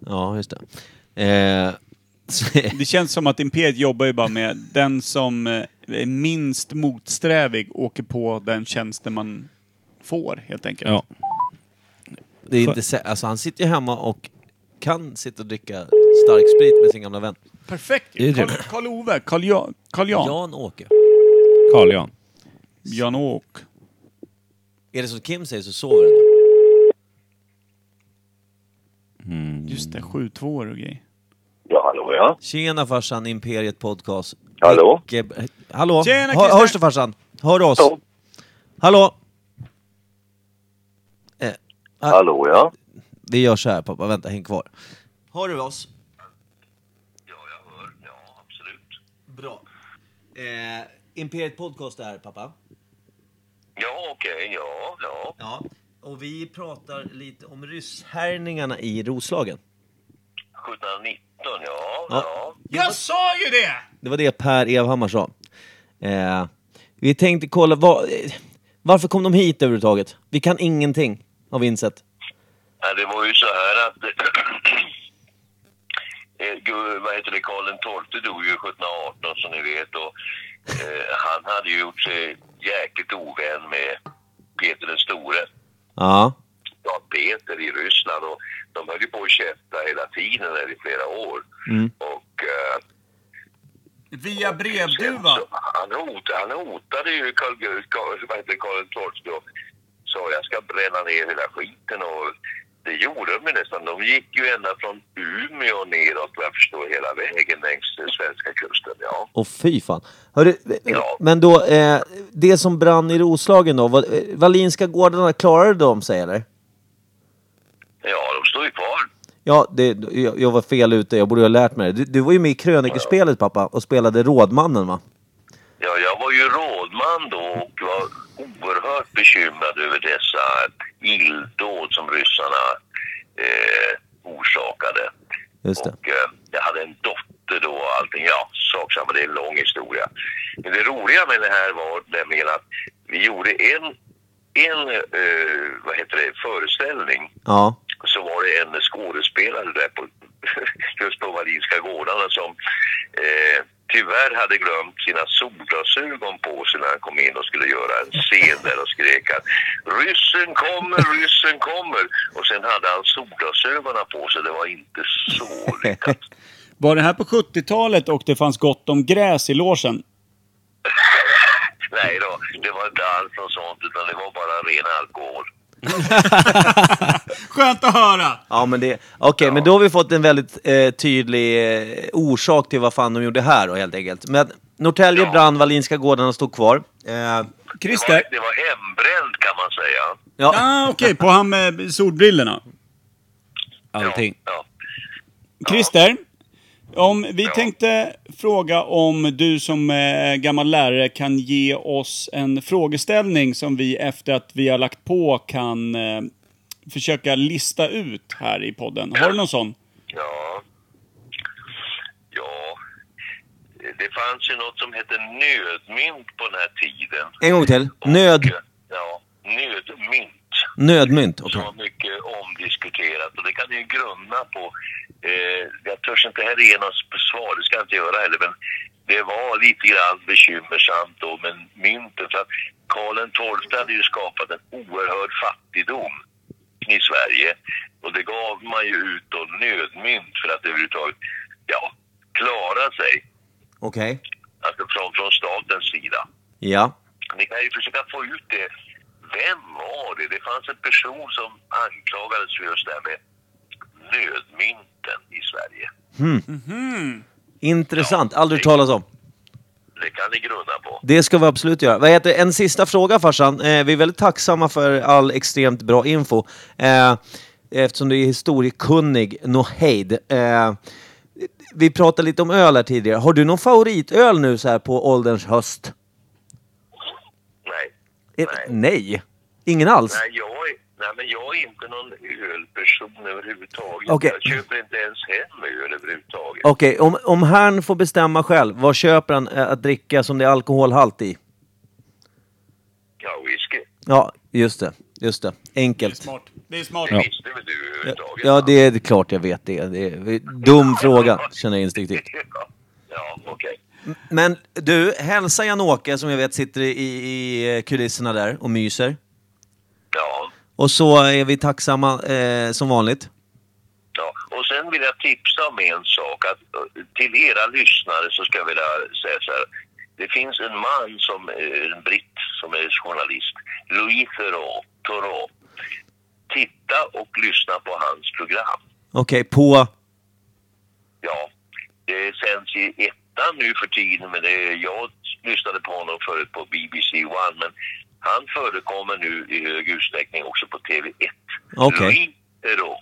Speaker 4: Ja, just det. Eh, så-
Speaker 2: Det känns som att Imperiet jobbar ju bara med den som eh, är minst motsträvig åker på den tjänsten man får helt enkelt.
Speaker 1: Ja.
Speaker 4: det är inte sä- alltså, han sitter ju hemma och kan sitta och dricka stark sprit med sin gamla vän.
Speaker 2: Perfekt
Speaker 1: Det är det.
Speaker 2: Karl- Karl-Ove, Karl-Jan, Karl-Jan,
Speaker 4: Jan-Åke.
Speaker 1: Carl Jan.
Speaker 2: Jan-Åk.
Speaker 4: Är det som Kim säger så sover han nu.
Speaker 1: Mm.
Speaker 2: Just det, 72 år och grej.
Speaker 8: Ja, hallå ja.
Speaker 4: Tjena farsan, Imperiet Podcast.
Speaker 8: Hallå?
Speaker 4: Micke... Hallå?
Speaker 2: Tjena,
Speaker 4: Hör,
Speaker 2: Christer.
Speaker 4: hörs du farsan? Hör oss?
Speaker 8: Hallå.
Speaker 4: Hallå? Eh, ah,
Speaker 8: Hallå ja.
Speaker 4: vi gör så här pappa, vänta, häng kvar. Hör du oss?
Speaker 8: Ja, jag hör. Ja, absolut.
Speaker 4: Bra. Eh, Imperiet Podcast är här pappa.
Speaker 8: Ja, okej. Ja, ja.
Speaker 4: Ja. Och vi pratar lite om rysshärningarna i Roslagen.
Speaker 8: 1719, ja.
Speaker 4: Ja.
Speaker 8: Ja.
Speaker 2: Jag sa ju det!
Speaker 4: Det var det Per Evhammar sa. Eh, vi tänkte kolla, vad, eh, varför kom de hit överhuvudtaget? Vi kan ingenting, har vi insett.
Speaker 8: Nej, det var ju så här att... eh, Gud, vad heter det? Karl XII dog ju 1718 som ni vet och eh, han hade ju gjort sig jäkligt ovän med Peter den store.
Speaker 4: Ja.
Speaker 8: ja, Peter i Ryssland och de höll ju på att käfta hela tiden där i flera år. Och eh,
Speaker 2: Via
Speaker 8: sen
Speaker 2: brevduva.
Speaker 8: så, han, hot, han hotade ju Karl Gu- Karl- vad heter det, Karl XII och sa jag ska bränna ner hela skiten och det gjorde de ju nästan. De gick ju ända från Umeå neråt vad jag förstår hela vägen längs den svenska kusten. Ja.
Speaker 4: Och fy fan. Hörru, eh,
Speaker 8: Ja.
Speaker 4: Men då, eh, det som brann i Roslagen då, vad- eh, Wallinska gårdarna, klarade de sig eller?
Speaker 8: ja, de står ju kvar.
Speaker 4: Ja, det, jag, jag var fel ute, jag borde ju ha lärt mig det. Du, du var ju med i krönikerspelet pappa och spelade rådmannen va?
Speaker 8: Ja, jag var ju rådman då och var oerhört bekymrad över dessa illdåd som ryssarna eh, orsakade.
Speaker 4: Just det.
Speaker 8: Och eh, jag hade en dotter då och allting. Ja, sak samma, det är en lång historia. Men det roliga med det här var nämligen att vi gjorde en, en eh, vad heter det, föreställning
Speaker 4: Ja.
Speaker 8: så var det en skådespelare där på, just på Wallinska gårdarna som eh, tyvärr hade glömt sina solglasögon på sig när han kom in och skulle göra en scen där och skrek att ryssen kommer, ryssen kommer. Och sen hade han solglasögonen på sig, det var inte så lyckat.
Speaker 2: Var det här på 70-talet och det fanns gott om gräs i låsen?
Speaker 8: Nej då, det var inte alls något sånt utan det var bara ren alkohol.
Speaker 2: Skönt att höra!
Speaker 4: Ja men det, okej men då har vi fått en väldigt eh, tydlig eh, orsak till vad fan de gjorde här då helt enkelt. Men Norrtälje
Speaker 8: Ja.
Speaker 4: brann, Wallinska gårdarna stod kvar. Eh, ja.
Speaker 8: Det var,
Speaker 2: Christer?
Speaker 8: det var hembränt kan man säga.
Speaker 2: Ah, okej, på han med solbrillorna.
Speaker 1: Allting.
Speaker 8: Ja, ja.
Speaker 2: Christer, om vi
Speaker 8: Ja.
Speaker 2: tänkte fråga om du som eh, gammal lärare kan ge oss en frågeställning som vi efter att vi har lagt på kan eh, försöka lista ut här i podden. Har du någon sån?
Speaker 8: Ja. Ja. Det fanns ju något som hette nödmynt på den här tiden.
Speaker 4: En gång till. Nöd,
Speaker 8: Och, Ja, nödmynt.
Speaker 4: nödmynt.
Speaker 8: Som
Speaker 4: okej.
Speaker 8: var mycket omdiskuterat och det kan ni ju grunna på. Eh, jag törs inte heller ge något svar, det ska jag inte göra heller, men det var lite grann bekymmersamt då med mynten för att Karl XII hade ju skapat en oerhörd fattigdom i Sverige och det gav man ju ut då nödmynt för att överhuvudtaget, ja, klara sig.
Speaker 4: Okej.
Speaker 8: Alltså från, från statens sida.
Speaker 4: Ja.
Speaker 8: Ni kan ju försöka få ut det. Vem var det? Det fanns en person som anklagades för just det här med nödmynten i Sverige.
Speaker 4: Intressant. Aldrig hört talas om.
Speaker 8: Det kan ni grunna på.
Speaker 4: Det ska vi absolut göra. Vad heter, det? en sista fråga farsan. Eh, vi är väldigt tacksamma för all extremt bra info. Eh, eftersom du är historiekunnig, nå hejd. Eh, vi pratade lite om öl här tidigare. Har du någon favoritöl nu så här på ålderns höst?
Speaker 8: Nej.
Speaker 4: Eh,
Speaker 8: Nej.
Speaker 4: Nej. Ingen alls?
Speaker 8: Nej, jag är, nej, men jag är inte någon ölperson överhuvudtaget.
Speaker 4: Okej.
Speaker 8: Jag köper inte ens hem öl överhuvudtaget.
Speaker 4: Okej, om, om han får bestämma själv, vad köper han eh, att dricka som det är alkoholhalt i?
Speaker 8: Ja, whisky.
Speaker 4: Ja, just det. Just det. Enkelt.
Speaker 2: Smart. Det är smart.
Speaker 8: Det visste väl du överhuvudtaget?
Speaker 4: Ja,
Speaker 8: va?
Speaker 4: det är klart jag vet det. det är, dum fråga, känner jag instinktivt.
Speaker 8: ja, okej.
Speaker 4: Men du, hälsa Jan-Åke som jag vet sitter i, i kulisserna där och myser.
Speaker 8: Ja.
Speaker 4: Och så är vi tacksamma eh, som vanligt.
Speaker 8: Ja, och sen vill jag tipsa om en sak. Att, eh, till era lyssnare så ska jag vilja säga så här. Det finns en man, som, eh, en britt, som är journalist. Louis Theroux. Theroux. Titta och lyssna på hans program.
Speaker 4: Okej, på...
Speaker 8: Ja, det sänds i ettan nu för tiden, men det, jag lyssnade på honom förut på BBC One, men han förekommer nu i hög utsträckning också på TV1.
Speaker 4: Okej.
Speaker 8: Louis Theroux.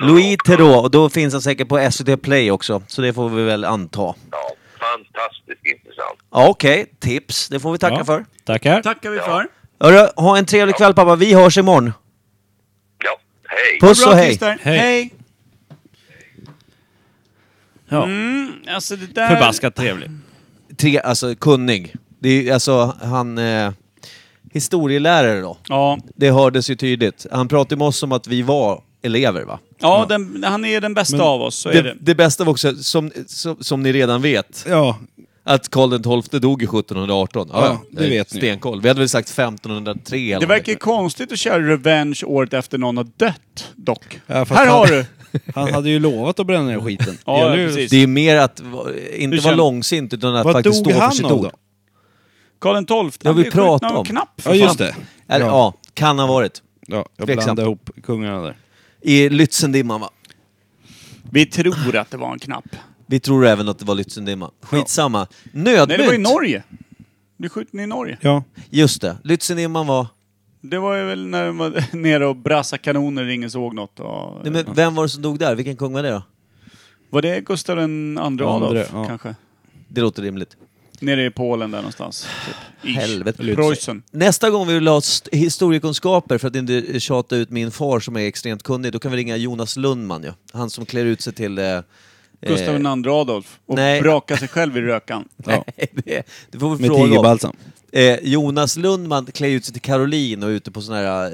Speaker 4: Louis Theroux, och då finns han säkert på SVT Play också, så det får vi väl anta.
Speaker 8: Ja, fantastiskt intressant.
Speaker 4: Ja, Okej, tips. Det får vi tacka
Speaker 1: Ja.
Speaker 4: för.
Speaker 1: Tackar.
Speaker 2: Tackar vi för.
Speaker 4: Hörru, ha en trevlig kväll pappa. Vi hörs imorgon.
Speaker 8: Ja, hej!
Speaker 4: Puss och
Speaker 2: Bra
Speaker 4: hej.
Speaker 2: Christer.
Speaker 1: Hej.
Speaker 2: Hej.
Speaker 1: Ja.
Speaker 2: Mm, alltså det där...
Speaker 1: Förbaskat trevligt.
Speaker 4: Tre, alltså kunnig. Det är ju, alltså han... Eh, historielärare då.
Speaker 2: Ja,
Speaker 4: Det hördes ju tydligt. Han pratade med oss om att vi var elever va?
Speaker 2: ja den, han är den bästa av oss. Så är
Speaker 4: Det,
Speaker 2: det.
Speaker 4: det bästa var också, som, som, som ni redan vet,
Speaker 1: Ja.
Speaker 4: att Karl XII dog i 1718. Ja,
Speaker 1: Ja, det vet ni.
Speaker 4: Stenkoll. Vi hade väl sagt 1503 eller
Speaker 2: Det verkar ju
Speaker 4: någonting.
Speaker 2: konstigt att köra Revenge året efter någon har dött, dock.
Speaker 1: Ja, fast
Speaker 2: Här
Speaker 1: han-
Speaker 2: har du!
Speaker 1: Han hade ju lovat att bränna ner skiten.
Speaker 2: Ja,
Speaker 1: Det gäller ju-
Speaker 2: precis.
Speaker 4: Det är mer att va- inte
Speaker 2: Hur
Speaker 4: vara
Speaker 2: känner-
Speaker 4: långsint utan att
Speaker 1: Vad
Speaker 4: faktiskt
Speaker 1: dog
Speaker 4: stå för
Speaker 1: han
Speaker 4: sitt
Speaker 1: av
Speaker 4: ord.
Speaker 1: då?
Speaker 2: Karl XII,
Speaker 4: Det har
Speaker 2: han
Speaker 4: vi
Speaker 2: blev skjuten
Speaker 4: pratat
Speaker 2: av en
Speaker 4: om.
Speaker 2: knapp för
Speaker 1: Ja, just
Speaker 2: fan.
Speaker 1: det.
Speaker 4: Eller, ja. kan ha varit.
Speaker 1: Ja, jag
Speaker 4: Tveksamt.
Speaker 1: blandade ihop kungarna där.
Speaker 4: I Lützendimma va?
Speaker 2: Vi tror att det var en knapp.
Speaker 4: Vi tror även att det var Lützendimma. Skitsamma. Nödmynt!
Speaker 2: Nej, det var i Norge. Du skjuten i Norge.
Speaker 1: Ja.
Speaker 4: Just det. Lützendimma var...
Speaker 2: Det var ju väl när de var nere och brassade kanoner och ingen såg något. Och,
Speaker 4: Nej, men vem var det som dog där? Vilken kung var det då?
Speaker 2: Var det Gustav den andra Adolf,
Speaker 1: Andre, ja.
Speaker 2: kanske?
Speaker 4: Det låter rimligt.
Speaker 2: Nere i Polen där någonstans. Typ. Ish.
Speaker 4: Helvete.
Speaker 2: Preussen.
Speaker 4: Nästa gång vi vill ha st- historiekunskaper för att inte tjata ut min far som är extremt kunnig, då kan vi ringa Jonas Lundman ju. Han som klär ut sig till... Eh,
Speaker 2: Gustav den
Speaker 4: eh,
Speaker 2: andra Adolf. Och
Speaker 4: nej.
Speaker 2: brakade sig själv i rökan.
Speaker 1: ja.
Speaker 4: det, det får vi
Speaker 1: Med
Speaker 4: fråga om.
Speaker 1: tigerbalsam.
Speaker 4: Eh, Jonas Lundman klär ut sig till Caroline och är ute på sån här... Eh,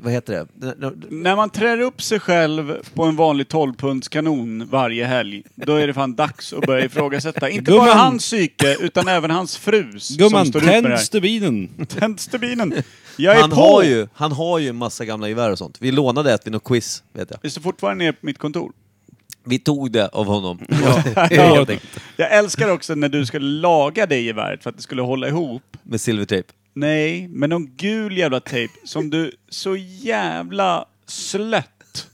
Speaker 4: vad heter det?
Speaker 2: När man trär upp sig själv på en vanlig 12-punktskanon varje helg, då är det fan dags att börja ifrågasätta. Inte bara
Speaker 1: Gumman.
Speaker 2: hans psyke, utan även hans frus som
Speaker 1: Gumman,
Speaker 2: står ut med det här.
Speaker 1: tänd stubinen!
Speaker 2: Tänd stubinen! Jag är
Speaker 4: Han
Speaker 2: på!
Speaker 4: har, ju, han har ju en massa gamla gevär och sånt. Vi lånade ett vid något quiz, vet jag.
Speaker 2: Det står fortfarande nere på mitt kontor.
Speaker 4: Vi tog det av honom.
Speaker 2: Ja.
Speaker 4: Helt enkelt.
Speaker 2: Jag älskar också när du skulle laga det geväret för att det skulle hålla ihop.
Speaker 4: Med silvertejp.
Speaker 2: Nej, men någon gul jävla tejp som du så jävla slött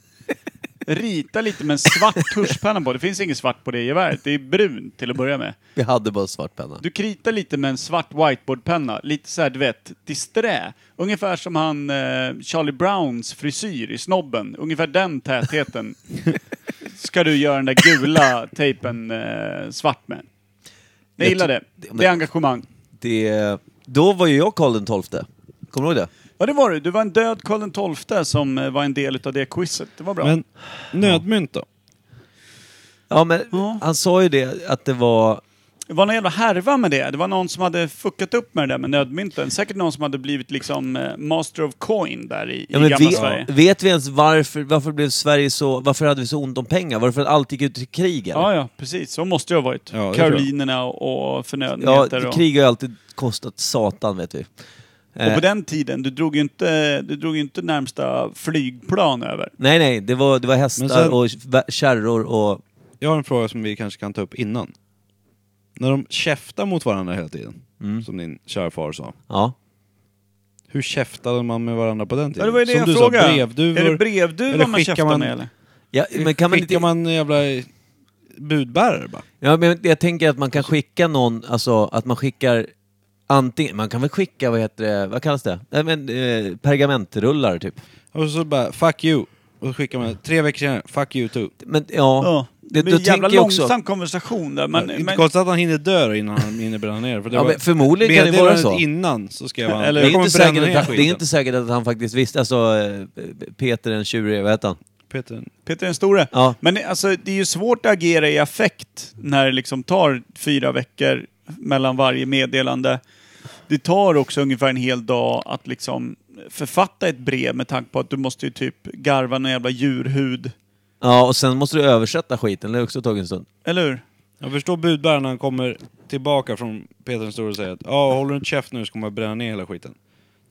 Speaker 2: rita lite med en svart tuschpenna på. Det finns inget svart på det geväret. Det är brunt till att börja med.
Speaker 4: Vi hade bara svart penna.
Speaker 2: Du kritar lite med en svart whiteboardpenna. Lite så här, du vet, disträ. Ungefär som han eh, Charlie Browns frisyr i Snobben. Ungefär den tätheten ska du göra den där gula tejpen eh, svart med. Jag
Speaker 4: Jag
Speaker 2: gillar
Speaker 4: ty-
Speaker 2: det.
Speaker 4: det- men-
Speaker 2: Det är engagemang.
Speaker 4: Det, då var ju jag Karl den XII. Kommer du ihåg det?
Speaker 2: Ja, det var du. Du var en död Karl XII som eh, var en del av det quizet. Det var bra.
Speaker 1: Men nödmynt då?
Speaker 4: Ja, men
Speaker 2: Ja.
Speaker 4: han sa ju det att det var...
Speaker 2: Det var någon jävla härva med det. Det var någon som hade fuckat upp med det där med nödmynten. Säkert någon som hade blivit liksom eh, master of coin där i,
Speaker 4: Ja,
Speaker 2: i
Speaker 4: men
Speaker 2: gamla Sverige.
Speaker 4: vet, vet vi ens varför, varför blev Sverige så... Varför hade vi så ont om pengar? Varför att allt gick ut till krig? eller?
Speaker 2: Ja, ja, precis. Så måste det ha varit.
Speaker 1: Ja, det tror jag.
Speaker 2: Karolinerna och och
Speaker 4: ja
Speaker 2: förnödenheter. och,
Speaker 4: krig har ju alltid kostat satan, vet vi.
Speaker 2: och
Speaker 4: Eh,
Speaker 2: på den tiden, du drog ju inte, du drog ju inte närmsta flygplan över.
Speaker 4: Nej, nej, det var, det var hästar
Speaker 1: Men sen-
Speaker 4: och vä- kärror och...
Speaker 1: Jag har en fråga som vi kanske kan ta upp innan. När de käftar mot varandra hela tiden, som din kära far sa.
Speaker 4: Ja.
Speaker 1: Hur käftade man med varandra på den tiden?
Speaker 2: Ja, det var ju det
Speaker 1: som
Speaker 2: jag
Speaker 1: du
Speaker 2: frågade.
Speaker 1: sa, brevduvor.
Speaker 2: Är det brevduvan
Speaker 1: Eller
Speaker 2: man
Speaker 1: skickar
Speaker 2: käftar
Speaker 1: man-
Speaker 2: med eller?
Speaker 4: ja men kan man
Speaker 1: Skickar
Speaker 4: inte...
Speaker 1: man en jävla budbärare bara?
Speaker 4: Ja, men jag tänker att man kan skicka någon, alltså att man skickar antingen... Man kan väl skicka, vad heter det, vad kallas det? Nej, men eh, pergamentrullar, typ.
Speaker 1: Och så bara, fuck you. Och så skickar man, tre veckor senare, fuck you too.
Speaker 4: Men ja,
Speaker 2: Ja. Det
Speaker 4: det, då
Speaker 2: blir en jävla
Speaker 4: tänker jag också...
Speaker 2: långsam konversation där. Men,
Speaker 1: inte
Speaker 2: men,
Speaker 1: konstigt att han hinner dö då innan han hinner bränna ner. För det
Speaker 4: Ja,
Speaker 1: var
Speaker 4: men förmodligen kan det vara
Speaker 1: meddelandet
Speaker 4: så.
Speaker 1: innan så skrev han,
Speaker 2: Eller-
Speaker 1: Eller,
Speaker 4: Det
Speaker 1: jag
Speaker 4: är,
Speaker 1: kommer
Speaker 4: inte
Speaker 1: bränna ner
Speaker 4: säkert att,
Speaker 1: skiten.
Speaker 4: det är inte säkert att han faktiskt visste, alltså eh, Peter den tjurige, vad hette han?
Speaker 1: Peter,
Speaker 2: Peter den store.
Speaker 4: Ja.
Speaker 2: Men det- alltså, det är ju svårt att agera i affekt när det liksom tar fyra veckor mellan varje meddelande. Det tar också ungefär en hel dag att liksom författa ett brev med tanke på att du måste ju typ garva någon jävla djurhud.
Speaker 4: Ja, och sen måste du översätta skiten, det har också tagit en stund.
Speaker 2: Eller hur?
Speaker 1: Jag förstår budbäraren när han kommer tillbaka från Peter den store och säger att ja, håller du inte käft nu så kommer jag bränna ner hela skiten.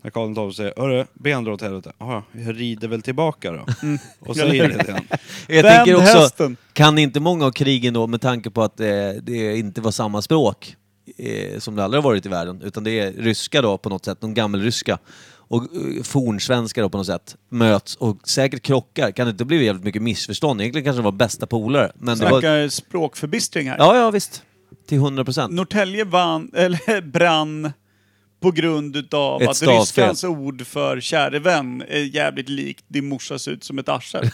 Speaker 1: När Karl XII säger hörru, ben drar åt helvete. Ja, jag rider väl tillbaka då.
Speaker 2: Mm.
Speaker 1: Och så ger det till han.
Speaker 4: Jag
Speaker 2: Vänd
Speaker 4: tänker också,
Speaker 2: hästen.
Speaker 4: kan inte många av krigen då, med tanke på att eh, det inte var samma språk eh, som det aldrig har varit i världen, utan det är ryska då på något sätt, de gammelryska och eh, fornsvenska då på något sätt, möts och säkert krockar. Kan det inte bli jävligt mycket missförstånd? Egentligen kanske de var bästa polare, men det var...
Speaker 2: Snackar språkförbistring här.
Speaker 4: Ja, ja, visst. Till 100 procent.
Speaker 2: Norrtälje vann, eller brann på grund utav
Speaker 4: Ett
Speaker 2: att
Speaker 4: stavfel.
Speaker 2: ryskans ord för käre vän är jävligt likt din morsa ser ut som ett arsel.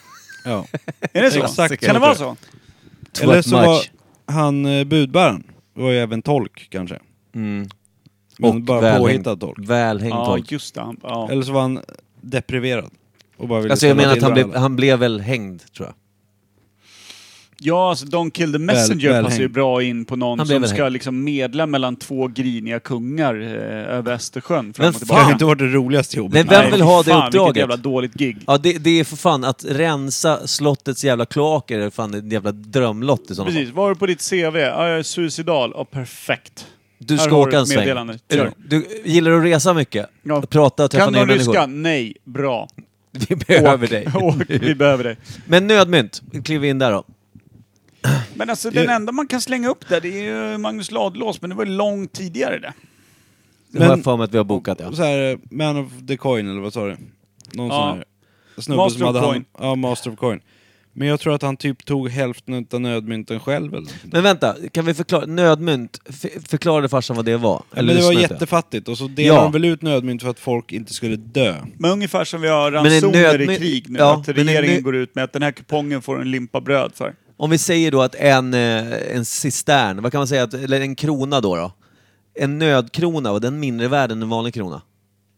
Speaker 1: Ja.
Speaker 2: Är det så?
Speaker 1: Exakt
Speaker 2: kan det
Speaker 1: så
Speaker 2: vara
Speaker 1: tror
Speaker 2: så?
Speaker 1: Eller så
Speaker 4: much.
Speaker 1: var han eh, budbäraren, Det var ju även tolk kanske.
Speaker 4: Mm.
Speaker 1: Men bara
Speaker 4: välhängd-
Speaker 1: påhittad tolk.
Speaker 4: Välhängd
Speaker 2: Ja,
Speaker 4: tolk.
Speaker 2: just det. han- Ja.
Speaker 1: Eller så var han depriverad. Och bara ville
Speaker 4: Alltså jag
Speaker 1: ställa
Speaker 4: menar
Speaker 1: till
Speaker 4: att han
Speaker 1: det
Speaker 4: blev,
Speaker 1: alla.
Speaker 4: han blev väl hängd, tror jag.
Speaker 2: Ja, alltså Don't Kill the Messenger
Speaker 1: välhängd.
Speaker 2: passar ju bra in på någon
Speaker 4: Han blev
Speaker 2: som
Speaker 4: väl
Speaker 2: ska
Speaker 4: hängd.
Speaker 2: liksom medla mellan två griniga kungar eh, över Östersjön fram
Speaker 4: Men
Speaker 2: och
Speaker 1: Det kanske
Speaker 2: tillbaka.
Speaker 1: inte varit det roligaste jobbet.
Speaker 4: Men vem
Speaker 2: Nej,
Speaker 4: vill ha
Speaker 2: fy
Speaker 4: det
Speaker 2: fan,
Speaker 4: uppdraget?
Speaker 2: Vilket jävla dåligt gig.
Speaker 4: Ja, det, det är för fan att rensa slottets jävla kloaker, är fan en jävla drömlott i sådana fall.
Speaker 2: Precis, vad har du på ditt CV? Ja, jag är suicidal. Ja, perfekt.
Speaker 4: Du
Speaker 2: Här
Speaker 4: ska
Speaker 2: har du
Speaker 4: åka en
Speaker 2: ett
Speaker 4: sväng.
Speaker 2: meddelande.
Speaker 4: Är du-
Speaker 2: Kör.
Speaker 4: Du, gillar du att resa mycket?
Speaker 2: Ja.
Speaker 4: Att Prata och träffa
Speaker 2: Kan
Speaker 4: nya
Speaker 2: du
Speaker 4: människor?
Speaker 2: ryska? Nej. Bra.
Speaker 4: Vi behöver dig.
Speaker 2: Åk, vi behöver dig.
Speaker 4: Men nödmynt, kliv in där då.
Speaker 2: Men alltså
Speaker 4: Eh.
Speaker 2: den enda man kan slänga upp där, det är ju Magnus Ladulås, men det var ju långt tidigare det.
Speaker 4: Det har
Speaker 1: Men-
Speaker 4: jag för mig att vi har bokat, ja.
Speaker 1: Så här, eh, Man of the Coin, eller vad sa du? Någon
Speaker 2: Ja.
Speaker 1: sån här snubbe
Speaker 2: Master
Speaker 1: som
Speaker 2: of
Speaker 1: hade
Speaker 2: Coin.
Speaker 1: hand, ja, Master of Coin. Men jag tror att han typ tog hälften av nödmynten själv eller någonting.
Speaker 4: Men vänta, kan vi förklara? Nödmynt, f- förklarade farsan vad det var?
Speaker 1: Men det var
Speaker 4: lyssnade inte?
Speaker 1: jättefattigt, och så delade
Speaker 4: Ja.
Speaker 1: de väl ut nödmynt för att folk inte skulle dö.
Speaker 2: Men ungefär som vi har
Speaker 4: en
Speaker 2: ransoner
Speaker 4: nöd-
Speaker 2: i krig nu,
Speaker 4: ja,
Speaker 2: att
Speaker 4: men en
Speaker 2: regeringen
Speaker 4: nö-
Speaker 2: går ut med att den här kupongen får en limpa bröd för.
Speaker 4: Om vi säger då att en, eh, en cistern, vad kan man säga, att, eller en krona då, då? En nödkrona, var den mindre värd än en vanlig krona?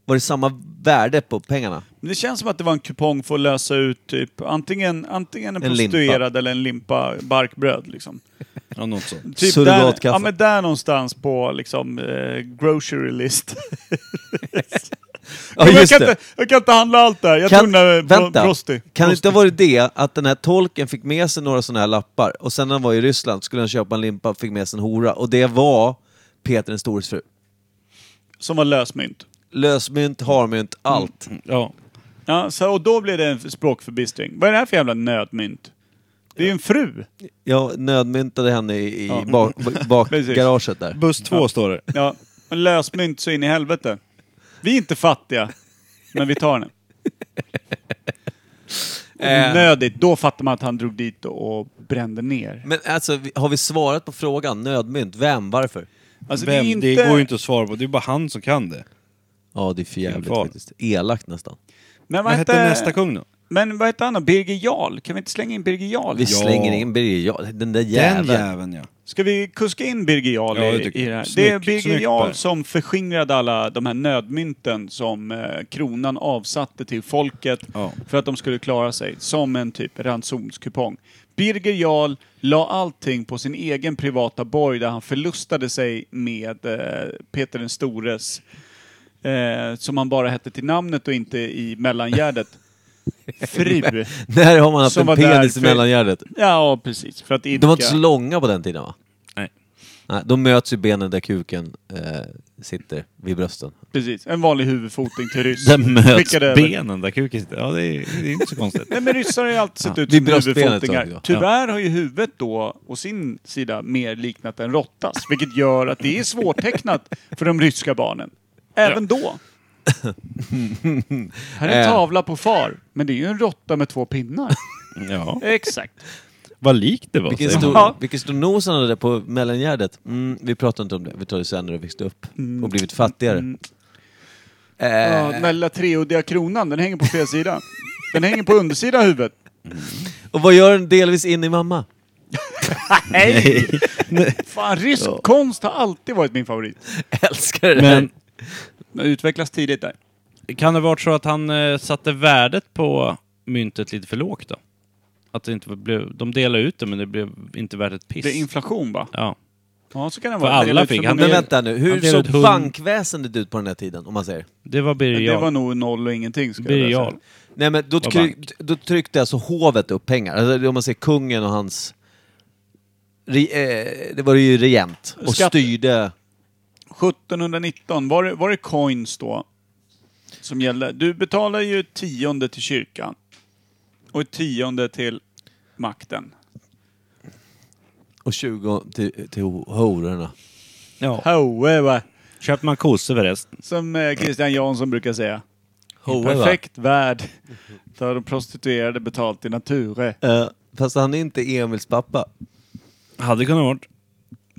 Speaker 4: Var det samma värde på pengarna?
Speaker 2: Men det känns som att det var en kupong för att lösa ut typ antingen, antingen en,
Speaker 4: En limpa.
Speaker 2: prostituerad eller en limpa barkbröd. Liksom.
Speaker 1: Ja, något sånt.
Speaker 2: Typ där,
Speaker 4: Surrogatkaffe.
Speaker 2: ja, men där någonstans på liksom, eh, grocery list.
Speaker 4: Ja,
Speaker 2: Men jag,
Speaker 4: just
Speaker 2: kan
Speaker 4: det.
Speaker 2: inte, jag kan inte handla allt där. Jag tog den där
Speaker 4: vänta,
Speaker 2: bro- prosti.
Speaker 4: kan det
Speaker 2: prosti.
Speaker 4: inte ha varit det att den här tolken fick med sig några sådana här lappar och sen när han var i Ryssland skulle han köpa en limpa och fick med sig en hora och det var Peter den stores fru.
Speaker 2: Som var lösmynt.
Speaker 4: Lösmynt, harmynt, allt.
Speaker 2: Mm.
Speaker 1: Ja.
Speaker 2: Ja, så, och då blev det en språkförbistring. Vad är det här för jävla nödmynt? Det är ju en fru.
Speaker 4: Jag nödmyntade henne i, i
Speaker 2: Ja.
Speaker 4: bak,
Speaker 2: Precis.
Speaker 4: bakgaraget där.
Speaker 1: Buss två står det.
Speaker 2: Ja, men lösmynt så in i helvete. Vi är inte fattiga, men vi tar den.
Speaker 4: Eh.
Speaker 2: Nödigt, då fattar man att han drog dit och brände ner.
Speaker 4: Men alltså, vi- har vi svarat på frågan? Nödmynt, vem, varför?
Speaker 2: Alltså,
Speaker 1: Vem?
Speaker 2: Det, är inte...
Speaker 1: Det går ju inte att svara på, det är bara han som kan det.
Speaker 4: Ja, det är för jävligt
Speaker 1: Fan.
Speaker 4: faktiskt. Elakt nästan.
Speaker 2: Men
Speaker 1: Vad
Speaker 2: vad
Speaker 1: hette
Speaker 2: hette
Speaker 1: nästa kung då?
Speaker 2: Men vad hette han då? Birger Jarl? Kan vi inte slänga in Birger Jarl?
Speaker 4: Vi
Speaker 2: här?
Speaker 4: slänger in Birger Jarl. Den där
Speaker 1: Den
Speaker 4: jäveln.
Speaker 1: jäveln ja.
Speaker 2: Ska vi kuska in Birger Jarl
Speaker 1: Ja, det
Speaker 2: i,
Speaker 1: tycker
Speaker 2: i
Speaker 1: jag.
Speaker 2: det här? det är
Speaker 1: Snyggt,
Speaker 2: Birger
Speaker 1: snyggt, Per.
Speaker 2: Jarl som förskingrade alla de här nödmynten som eh, kronan avsatte till folket
Speaker 1: Ja.
Speaker 2: för att de skulle klara sig, som en typ ransonskupong. Birger Jarl la allting på sin egen privata borg där han förlustade sig med eh, Peter den stores, eh, som han bara hette till namnet och inte i mellangärdet, fru.
Speaker 4: När har man haft
Speaker 2: Som
Speaker 4: en
Speaker 2: var
Speaker 4: penis
Speaker 2: där
Speaker 4: i
Speaker 2: för-
Speaker 4: mellangärdet?
Speaker 2: Ja, precis. För att idka.
Speaker 4: De var inte så långa på den tiden va?
Speaker 1: Nej.
Speaker 4: Nej, de möts ju benen där kuken eh, sitter, vid brösten.
Speaker 2: Precis, en vanlig huvudfoting till ryss.
Speaker 4: Där möts
Speaker 2: Skickade över.
Speaker 1: Benen där kuken sitter. Ja, det är, det är inte så konstigt.
Speaker 2: Nej men ryssar har ju alltid sett
Speaker 4: Ja,
Speaker 2: ut
Speaker 4: vid
Speaker 2: som
Speaker 4: bröstbenet
Speaker 2: huvudfotingar.
Speaker 4: då.
Speaker 2: Tyvärr har ju huvudet då, å sin sida, mer liknat en råttas. Vilket gör att det är svårtecknat för de ryska barnen. Även då. Här är en
Speaker 4: Eh.
Speaker 2: tavla på far, men det är ju en råtta med två pinnar.
Speaker 1: Ja.
Speaker 2: Exakt.
Speaker 1: Vad likt det var.
Speaker 4: Vilken
Speaker 1: säger
Speaker 4: stor,
Speaker 1: man.
Speaker 2: Ja.
Speaker 4: vilken stor nos han hade där på mellangärdet. Mm, vi pratar inte om det, vi tar det sen när du växte upp och blivit fattigare.
Speaker 2: Ja, den här lilla treuddiga kronan, den hänger på fel sida. Den hänger på undersida av huvudet.
Speaker 4: Och vad gör den delvis in i mamma?
Speaker 2: Nej! Fan, rysk konst har alltid varit min favorit.
Speaker 4: Älskar det där.
Speaker 1: Men
Speaker 2: Den utvecklas tidigt där.
Speaker 1: Kan det varit så att han eh, satte värdet på myntet lite för lågt då? Att det inte blev, de delade ut det men det blev inte värt ett piss.
Speaker 2: Det är inflation va?
Speaker 1: ja.
Speaker 2: Ja, så kan det
Speaker 1: För
Speaker 2: vara.
Speaker 1: alla
Speaker 2: Det är lite
Speaker 1: fick.
Speaker 2: för
Speaker 1: Han
Speaker 2: många-
Speaker 4: Men vänta nu,
Speaker 1: Han
Speaker 4: hur
Speaker 1: delar ut
Speaker 4: såg
Speaker 1: hund-
Speaker 4: bankväsendet ut på den här tiden, om man säger?
Speaker 1: Det var Birger
Speaker 2: Det
Speaker 1: Jarl.
Speaker 2: var nog noll och ingenting. Ska
Speaker 1: Birger
Speaker 2: jag
Speaker 1: Jarl.
Speaker 2: säga.
Speaker 4: Nej men då,
Speaker 1: Vad
Speaker 4: tryck, då tryckte alltså hovet upp pengar. Alltså, om man ser kungen och hans... Re, eh, det var ju regent och
Speaker 2: Skatt-
Speaker 4: styrde...
Speaker 2: 1719, var det, var det coins då? Som gällde? Du betalar ju tionde till kyrkan. Och ett tionde till makten.
Speaker 4: Och 20 till, till ho- hororna.
Speaker 1: Ja.
Speaker 2: However,
Speaker 1: Köpte man kossor för resten.
Speaker 2: som eh, Christian Jansson brukar säga. I
Speaker 4: However.
Speaker 2: perfekt värld tar de prostituerade betalt i nature.
Speaker 4: Eh, fast han är inte Emils pappa.
Speaker 1: Hade kunnat varit.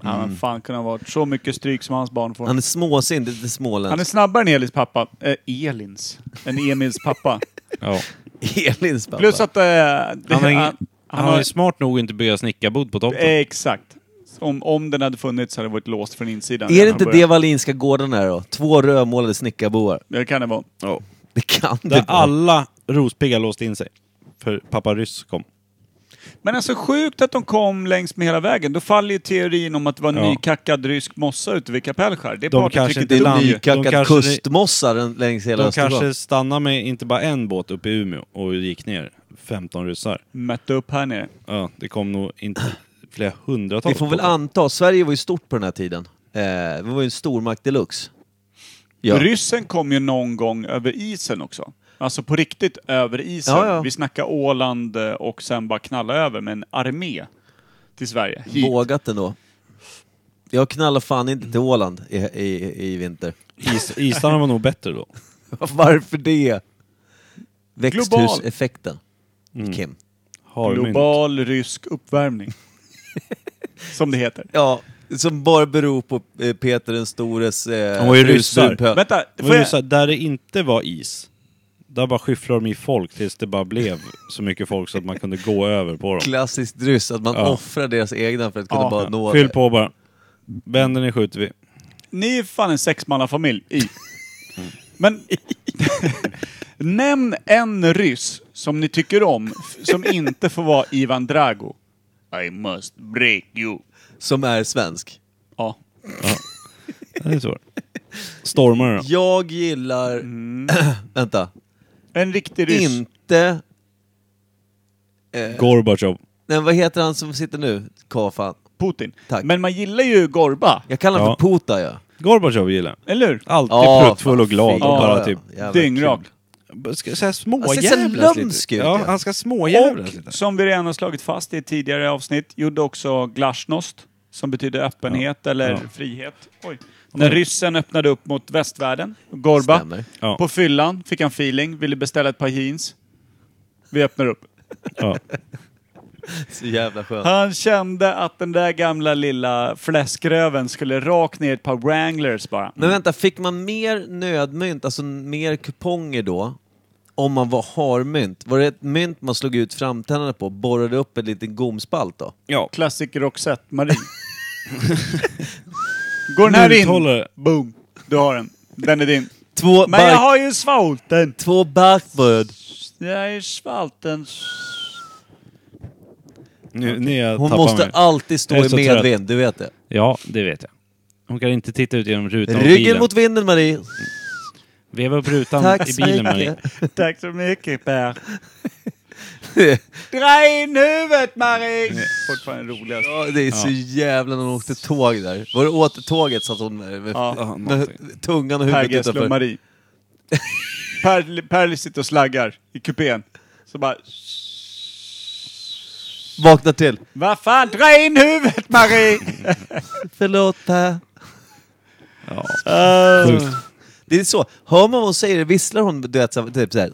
Speaker 2: Ja, men fan kunde ha varit så mycket stryk som hans barn får.
Speaker 4: Han är småsint, lite småländsk.
Speaker 2: Han är snabbare än Elins pappa. Eh, Elins? Än Emils pappa.
Speaker 1: Ja.
Speaker 4: Elins pappa.
Speaker 2: Plus att... Eh,
Speaker 1: Han, var ingen,
Speaker 2: han-
Speaker 1: han, Eh,
Speaker 2: han
Speaker 1: var
Speaker 2: har-
Speaker 1: ju smart nog att inte bygga snickarbod på toppen.
Speaker 2: Exakt. Om, om den hade funnits hade det varit låst från insidan.
Speaker 4: är det
Speaker 2: redan
Speaker 4: inte
Speaker 2: från
Speaker 4: det
Speaker 2: början.
Speaker 4: Wallinska gården är då? Två rödmålade snickarboar.
Speaker 2: Det kan det vara.
Speaker 4: Det kan det
Speaker 1: Där
Speaker 4: inte vara.
Speaker 1: alla rospiggar låste in sig. För pappa Ryss kom.
Speaker 2: Men alltså sjukt att de kom längs med hela vägen. Då faller ju teorin om att det var
Speaker 1: Ja.
Speaker 2: nykackad rysk mossa ute vid Kapellskär. Det är
Speaker 1: De
Speaker 2: partyt
Speaker 1: kanske inte
Speaker 2: tycker dumt.
Speaker 1: land- de
Speaker 4: Nykackad
Speaker 1: kanske-
Speaker 4: kustmossa den- längs hela
Speaker 1: De
Speaker 4: Östersjön.
Speaker 1: kanske stannar med inte bara en båt uppe i Umeå och gick ner 15 ryssar.
Speaker 2: Mötte upp här nere.
Speaker 1: Ja, det kom nog inte flera hundratals.
Speaker 4: Vi får väl
Speaker 1: båtar.
Speaker 4: anta, Sverige var ju stort på den här tiden. Eh, vi var ju en stormakt deluxe. Ja.
Speaker 2: Ryssen kom ju någon gång över isen också. Alltså på riktigt över isen.
Speaker 4: Ja, ja.
Speaker 2: Vi snackar Åland eh, och sen bara knalla över med en armé till Sverige. Hit.
Speaker 4: Vågat ändå. Jag knallar fan inte till Åland i, i, i vinter.
Speaker 1: Is, isarna var nog bättre då.
Speaker 4: Varför det? Växthuseffekten, Kim.
Speaker 1: Harmynt.
Speaker 2: Global rysk uppvärmning. Som det heter.
Speaker 4: Ja, som bara beror på eh, Peter den stores... Eh,
Speaker 1: Han var ju ryssar.
Speaker 4: husbrudpö-
Speaker 2: Vänta,
Speaker 1: Det
Speaker 2: får
Speaker 1: var ju
Speaker 2: jag...
Speaker 1: så här, där det inte var is, där bara skyfflade de i folk tills det bara blev så mycket folk så att man kunde gå över på dem.
Speaker 4: Klassiskt ryss, att man
Speaker 1: Ja.
Speaker 4: offrar deras egna för att kunna
Speaker 2: Ja.
Speaker 4: bara nå...
Speaker 1: Fyll på bara. Vänder ni skjuter vi.
Speaker 2: Ni är fan en sexmannafamilj. I.
Speaker 1: Mm.
Speaker 2: Men... Nämn en ryss som ni tycker om, f- som inte får vara Ivan Drago. I must break you.
Speaker 4: Som är svensk.
Speaker 2: Ja.
Speaker 1: Det är svårt. Stormare då?
Speaker 4: Jag gillar...
Speaker 1: Mm.
Speaker 4: vänta.
Speaker 2: En riktig ryss.
Speaker 4: Inte...
Speaker 1: Gorbatjov.
Speaker 4: Nej, vad heter han som sitter nu? Kafan.
Speaker 2: Putin.
Speaker 4: Tack.
Speaker 2: Men man gillar ju Gorba,
Speaker 4: Jag kallar honom
Speaker 1: Ja.
Speaker 4: för Puta, ja.
Speaker 1: Gorbatjov gillar jag.
Speaker 2: eller hur?
Speaker 1: Alltid
Speaker 4: Ja,
Speaker 1: pruttfull och glad och
Speaker 4: fan,
Speaker 1: bara
Speaker 4: ja,
Speaker 1: typ...
Speaker 4: ja. Jävla
Speaker 2: Dyngrak.
Speaker 1: Ska säga
Speaker 4: Han ser så
Speaker 1: småjävlas
Speaker 4: lömsk
Speaker 1: lite.
Speaker 4: ut,
Speaker 1: Ja,
Speaker 4: ja.
Speaker 1: han ska småjävlas lite.
Speaker 2: Och som vi redan har slagit fast i ett tidigare avsnitt, gjorde också glasnost, som betyder öppenhet eller
Speaker 1: Ja.
Speaker 2: frihet. Oj. När ryssen öppnade upp mot västvärlden, Gorba,
Speaker 4: Stämmer.
Speaker 1: Ja.
Speaker 2: på fyllan fick han feeling, ville beställa ett par jeans. Vi öppnar upp.
Speaker 1: Ja.
Speaker 4: Så jävla skönt.
Speaker 2: Han kände att den där gamla lilla fläskröven skulle rakt ner ett par wranglers bara.
Speaker 4: Men vänta, fick man mer nödmynt, alltså mer kuponger då? Om man var harmynt? Var det ett mynt man slog ut framtänderna på, borrade upp en liten gomspalt då?
Speaker 1: ja.
Speaker 2: Klassiker Roxette, Marie. Går den här in,
Speaker 1: Mynthållare.
Speaker 2: boom, du har den. Den är din.
Speaker 4: Två,
Speaker 2: Men jag
Speaker 4: bark,
Speaker 2: har ju svalten.
Speaker 4: två barkböd.
Speaker 2: Jag är svalten.
Speaker 1: Nu, nu är jag
Speaker 4: Hon
Speaker 1: tappar
Speaker 4: måste
Speaker 1: mig.
Speaker 4: alltid stå
Speaker 1: Jag är
Speaker 4: i
Speaker 1: så
Speaker 4: medvind, du vet det.
Speaker 1: Ja, det vet jag. Hon kan inte titta ut genom rutan av
Speaker 4: Ryggen
Speaker 1: bilen.
Speaker 4: mot vinden Marie.
Speaker 1: Veva upp rutan
Speaker 4: Tack
Speaker 1: i
Speaker 4: så
Speaker 1: bilen, Marie.
Speaker 4: mycket.
Speaker 2: Tack så mycket Per. Dra in huvudet Marie! Fortfarande roligast.
Speaker 4: Ja, det är så jävla när hon åkte tåg där. Var det återtåget satt hon eh, med, med,
Speaker 2: Ja,
Speaker 1: någonting.
Speaker 4: med tungan och
Speaker 2: Per
Speaker 4: huvudet
Speaker 2: Gessle och
Speaker 4: utanför.
Speaker 2: Marie. Per, per sitter och slaggar i kupén. Så bara...
Speaker 4: Vakna till.
Speaker 2: Vad fan, dra in huvudet Marie!
Speaker 4: Förlåt Per.
Speaker 1: Sjukt.
Speaker 4: Det är så. Hör man vad hon säger, visslar hon du vet, så här, typ såhär.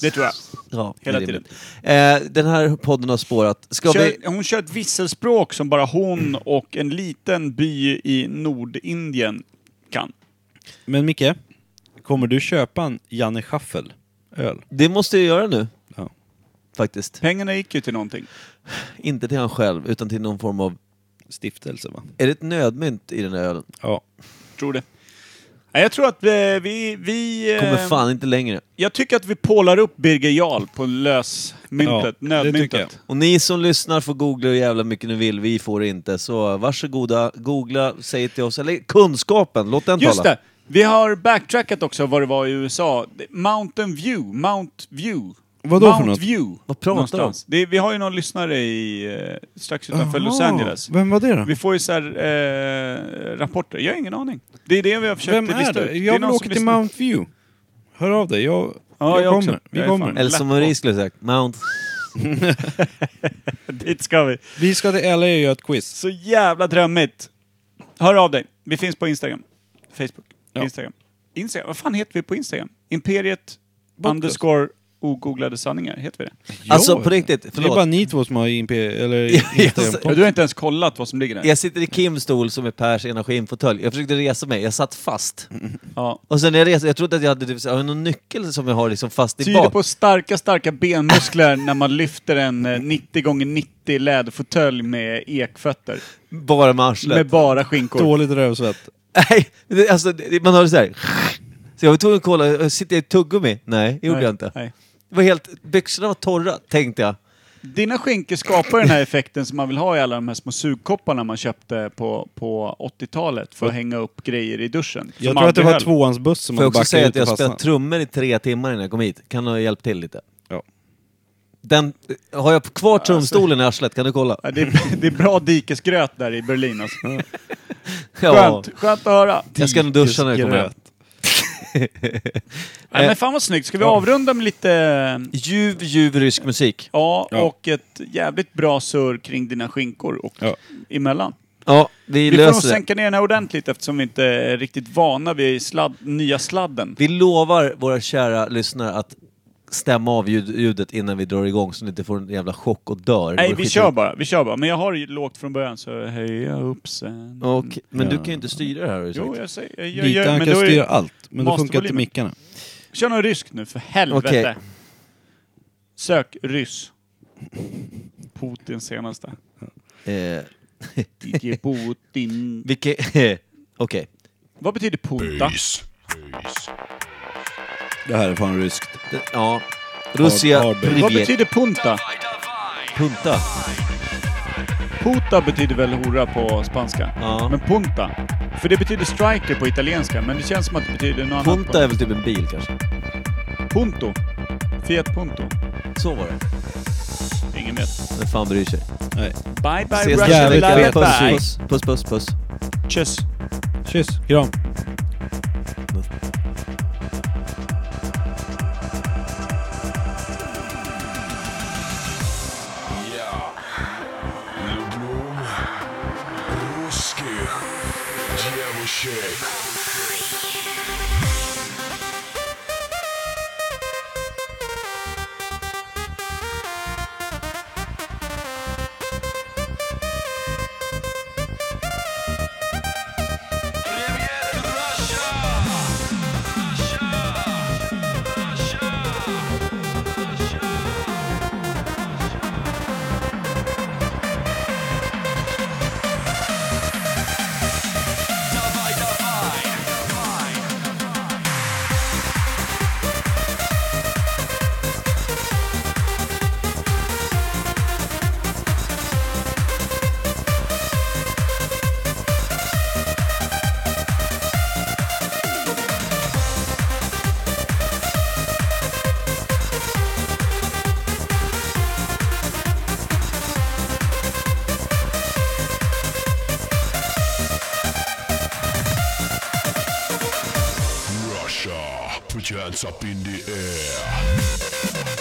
Speaker 2: Det tror jag.
Speaker 4: Ja,
Speaker 2: Hela
Speaker 4: det är rimligt. Eh, den här podden har spårat. Ska vi...
Speaker 2: Kör, hon kör ett visselspråk som bara hon och en liten by i Nordindien kan.
Speaker 1: Men Micke, kommer du köpa en Janne Schaffel-öl?
Speaker 4: Det måste jag göra nu.
Speaker 1: Ja.
Speaker 4: Faktiskt.
Speaker 2: Pengarna gick ju till någonting.
Speaker 4: Inte till han själv, utan till någon form av...
Speaker 1: Stiftelse, va?
Speaker 4: Är det ett nödmynt i den här ölen?
Speaker 1: Ja.
Speaker 2: Tror det. Nej, Jag tror att vi... vi, vi eh,
Speaker 4: Kommer fan inte längre.
Speaker 2: Jag tycker att vi pålar upp Birger Jarl på lösmyntet,
Speaker 1: Ja, det tycker jag.
Speaker 2: nödmyntet.
Speaker 4: Och ni som lyssnar får googla hur jävla mycket ni vill, vi får det inte. Så varsågoda, googla, säg till oss. Eller kunskapen, låt den
Speaker 2: Just
Speaker 4: tala.
Speaker 2: det! Vi har backtrackat också vad det var i USA. Mountain View, Mount View.
Speaker 1: Vadå för
Speaker 2: Mount
Speaker 1: något?
Speaker 2: View.
Speaker 4: Vad pratar de om?
Speaker 2: någonstans. det, Vi har ju någon lyssnare i, eh, strax utanför Los Angeles.
Speaker 1: Vem var det då?
Speaker 2: Vi får ju så här, eh, rapporter. Jag har ingen aning. Det är det vi har försökt
Speaker 1: Vem är
Speaker 2: lista ut.
Speaker 1: det?
Speaker 2: är
Speaker 1: Jag vill
Speaker 2: någon som
Speaker 1: åka till
Speaker 2: lyssnar.
Speaker 1: Mount View. Hör av dig, jag,
Speaker 2: Ja,
Speaker 1: jag,
Speaker 2: jag
Speaker 1: kommer.
Speaker 2: också.
Speaker 1: Vi
Speaker 2: Jag är
Speaker 1: kommer.
Speaker 2: fan-
Speaker 4: Eller som Marie skulle sagt, Mount...
Speaker 2: Dit ska vi.
Speaker 1: Vi ska till LA och göra ett quiz.
Speaker 2: Så jävla drömmigt. Hör av dig. Vi finns på Instagram. Facebook.
Speaker 1: Ja.
Speaker 2: Instagram. Instagram. Vad fan heter vi på Instagram? Imperiet underscore ogooglade sanningar. Heter vi det?
Speaker 4: Alltså på riktigt,
Speaker 1: Det är bara
Speaker 4: förlåt.
Speaker 1: ni två som har imp... eller
Speaker 4: jag
Speaker 2: Ja,
Speaker 1: Instagram.
Speaker 2: du har inte ens kollat vad som ligger där.
Speaker 4: Jag sitter i Kims stol som är Pers energiinfåtölj. Jag försökte resa mig, jag satt fast.
Speaker 2: Ja.
Speaker 4: Och sen när jag reste, jag trodde att jag hade typ, så här, någon nyckel som jag har liksom fast i
Speaker 2: Tyder
Speaker 4: bak.
Speaker 2: på starka, starka benmuskler när man lyfter en eh, 90 gånger 90 läderfåtölj med ekfötter.
Speaker 4: Bara med arslet.
Speaker 2: Med bara skinkor.
Speaker 1: Dåligt rövsvett.
Speaker 4: Nej, det- alltså det- man hör så här. Så jag var tvungen att kolla, sitter jag i tuggummi? Nej, det gjorde jag inte.
Speaker 2: Nej.
Speaker 4: Det var helt, byxorna var torra, tänkte jag.
Speaker 2: Dina skinkor skapar den här effekten som man vill ha i alla de här små sugkopparna man köpte på, på 80-talet för att hänga upp grejer i duschen.
Speaker 1: Jag
Speaker 2: som
Speaker 1: tror att det
Speaker 2: aldrig
Speaker 1: var
Speaker 2: höll.
Speaker 1: tvåans buss som
Speaker 4: Får jag
Speaker 1: hade
Speaker 4: också
Speaker 1: backat
Speaker 4: säga
Speaker 1: ut
Speaker 4: att jag
Speaker 1: och
Speaker 4: har
Speaker 1: fastnat.
Speaker 4: spelat trummor i tre timmar innan jag kom hit. Kan ha hjälpt till lite.
Speaker 1: Ja.
Speaker 4: Den, har jag kvar trumstolen i arslet? Kan du kolla?
Speaker 2: Ja, det, är, det är bra dikesgröt där i Berlin alltså.
Speaker 4: Ja.
Speaker 2: Skönt, skönt att höra.
Speaker 4: Jag ska nog duscha när jag kommer hem.
Speaker 2: Nej, men fan vad snyggt. Ska vi avrunda med lite
Speaker 4: Ljuv, ljuv rysk musik.
Speaker 2: ja,
Speaker 1: Ja.
Speaker 2: och ett jävligt bra surr kring dina skinkor och
Speaker 1: Ja.
Speaker 2: emellan.
Speaker 4: Ja, vi,
Speaker 2: Vi får nog
Speaker 4: löser det.
Speaker 2: sänka ner den här ordentligt eftersom vi inte är riktigt vana vid sladd, nya sladden.
Speaker 4: Vi lovar våra kära lyssnare att stämma av ljud, ljudet innan vi drar igång så ni inte får en jävla chock och dör.
Speaker 2: Nej,
Speaker 4: Det
Speaker 2: vi
Speaker 4: skiter-
Speaker 2: kör bara. Vi kör bara. Men jag har ju lågt från början så höja upp sen.
Speaker 4: Och, Mm. men du kan ju inte styra det här har du sagt.
Speaker 2: Jo, jag säger... Jag, jag,
Speaker 1: Lite,
Speaker 2: jag,
Speaker 1: han
Speaker 2: men
Speaker 1: kan
Speaker 2: då är-
Speaker 1: styra allt, men då funkar inte
Speaker 2: mastervolymen.
Speaker 1: mickarna.
Speaker 2: Kör någon rysk nu, för helvete.
Speaker 4: Okej.
Speaker 2: Sök ryss. Putin senaste.
Speaker 4: Eh,
Speaker 2: DJ Putin.
Speaker 4: vilka... Okej.
Speaker 2: Vad betyder puta?
Speaker 1: Det här är fan ryskt.
Speaker 4: Det- Ja. Russia
Speaker 1: hard bass.
Speaker 2: Vad
Speaker 4: Rivier.
Speaker 2: betyder punta?
Speaker 4: Punta.
Speaker 2: Puta betyder väl hora på spanska?
Speaker 4: Ja.
Speaker 2: Men punta? För det betyder striker på italienska, men det känns som att det betyder något annat.
Speaker 4: Punta är väl typ en bil kanske?
Speaker 2: på- Punto. Fiat Punto.
Speaker 4: Så var det.
Speaker 2: Ingen vet.
Speaker 4: Vem fan bryr sig?
Speaker 2: Bye bye
Speaker 4: Ses
Speaker 2: Russia,
Speaker 4: nästa
Speaker 2: bye
Speaker 4: vecka.
Speaker 2: bye.
Speaker 4: Puss,
Speaker 2: bye.
Speaker 4: puss, puss, puss, puss.
Speaker 2: Tjus.
Speaker 1: Kyss, kram.
Speaker 9: Люблю русских девушек. Russia, put your hands up in the air.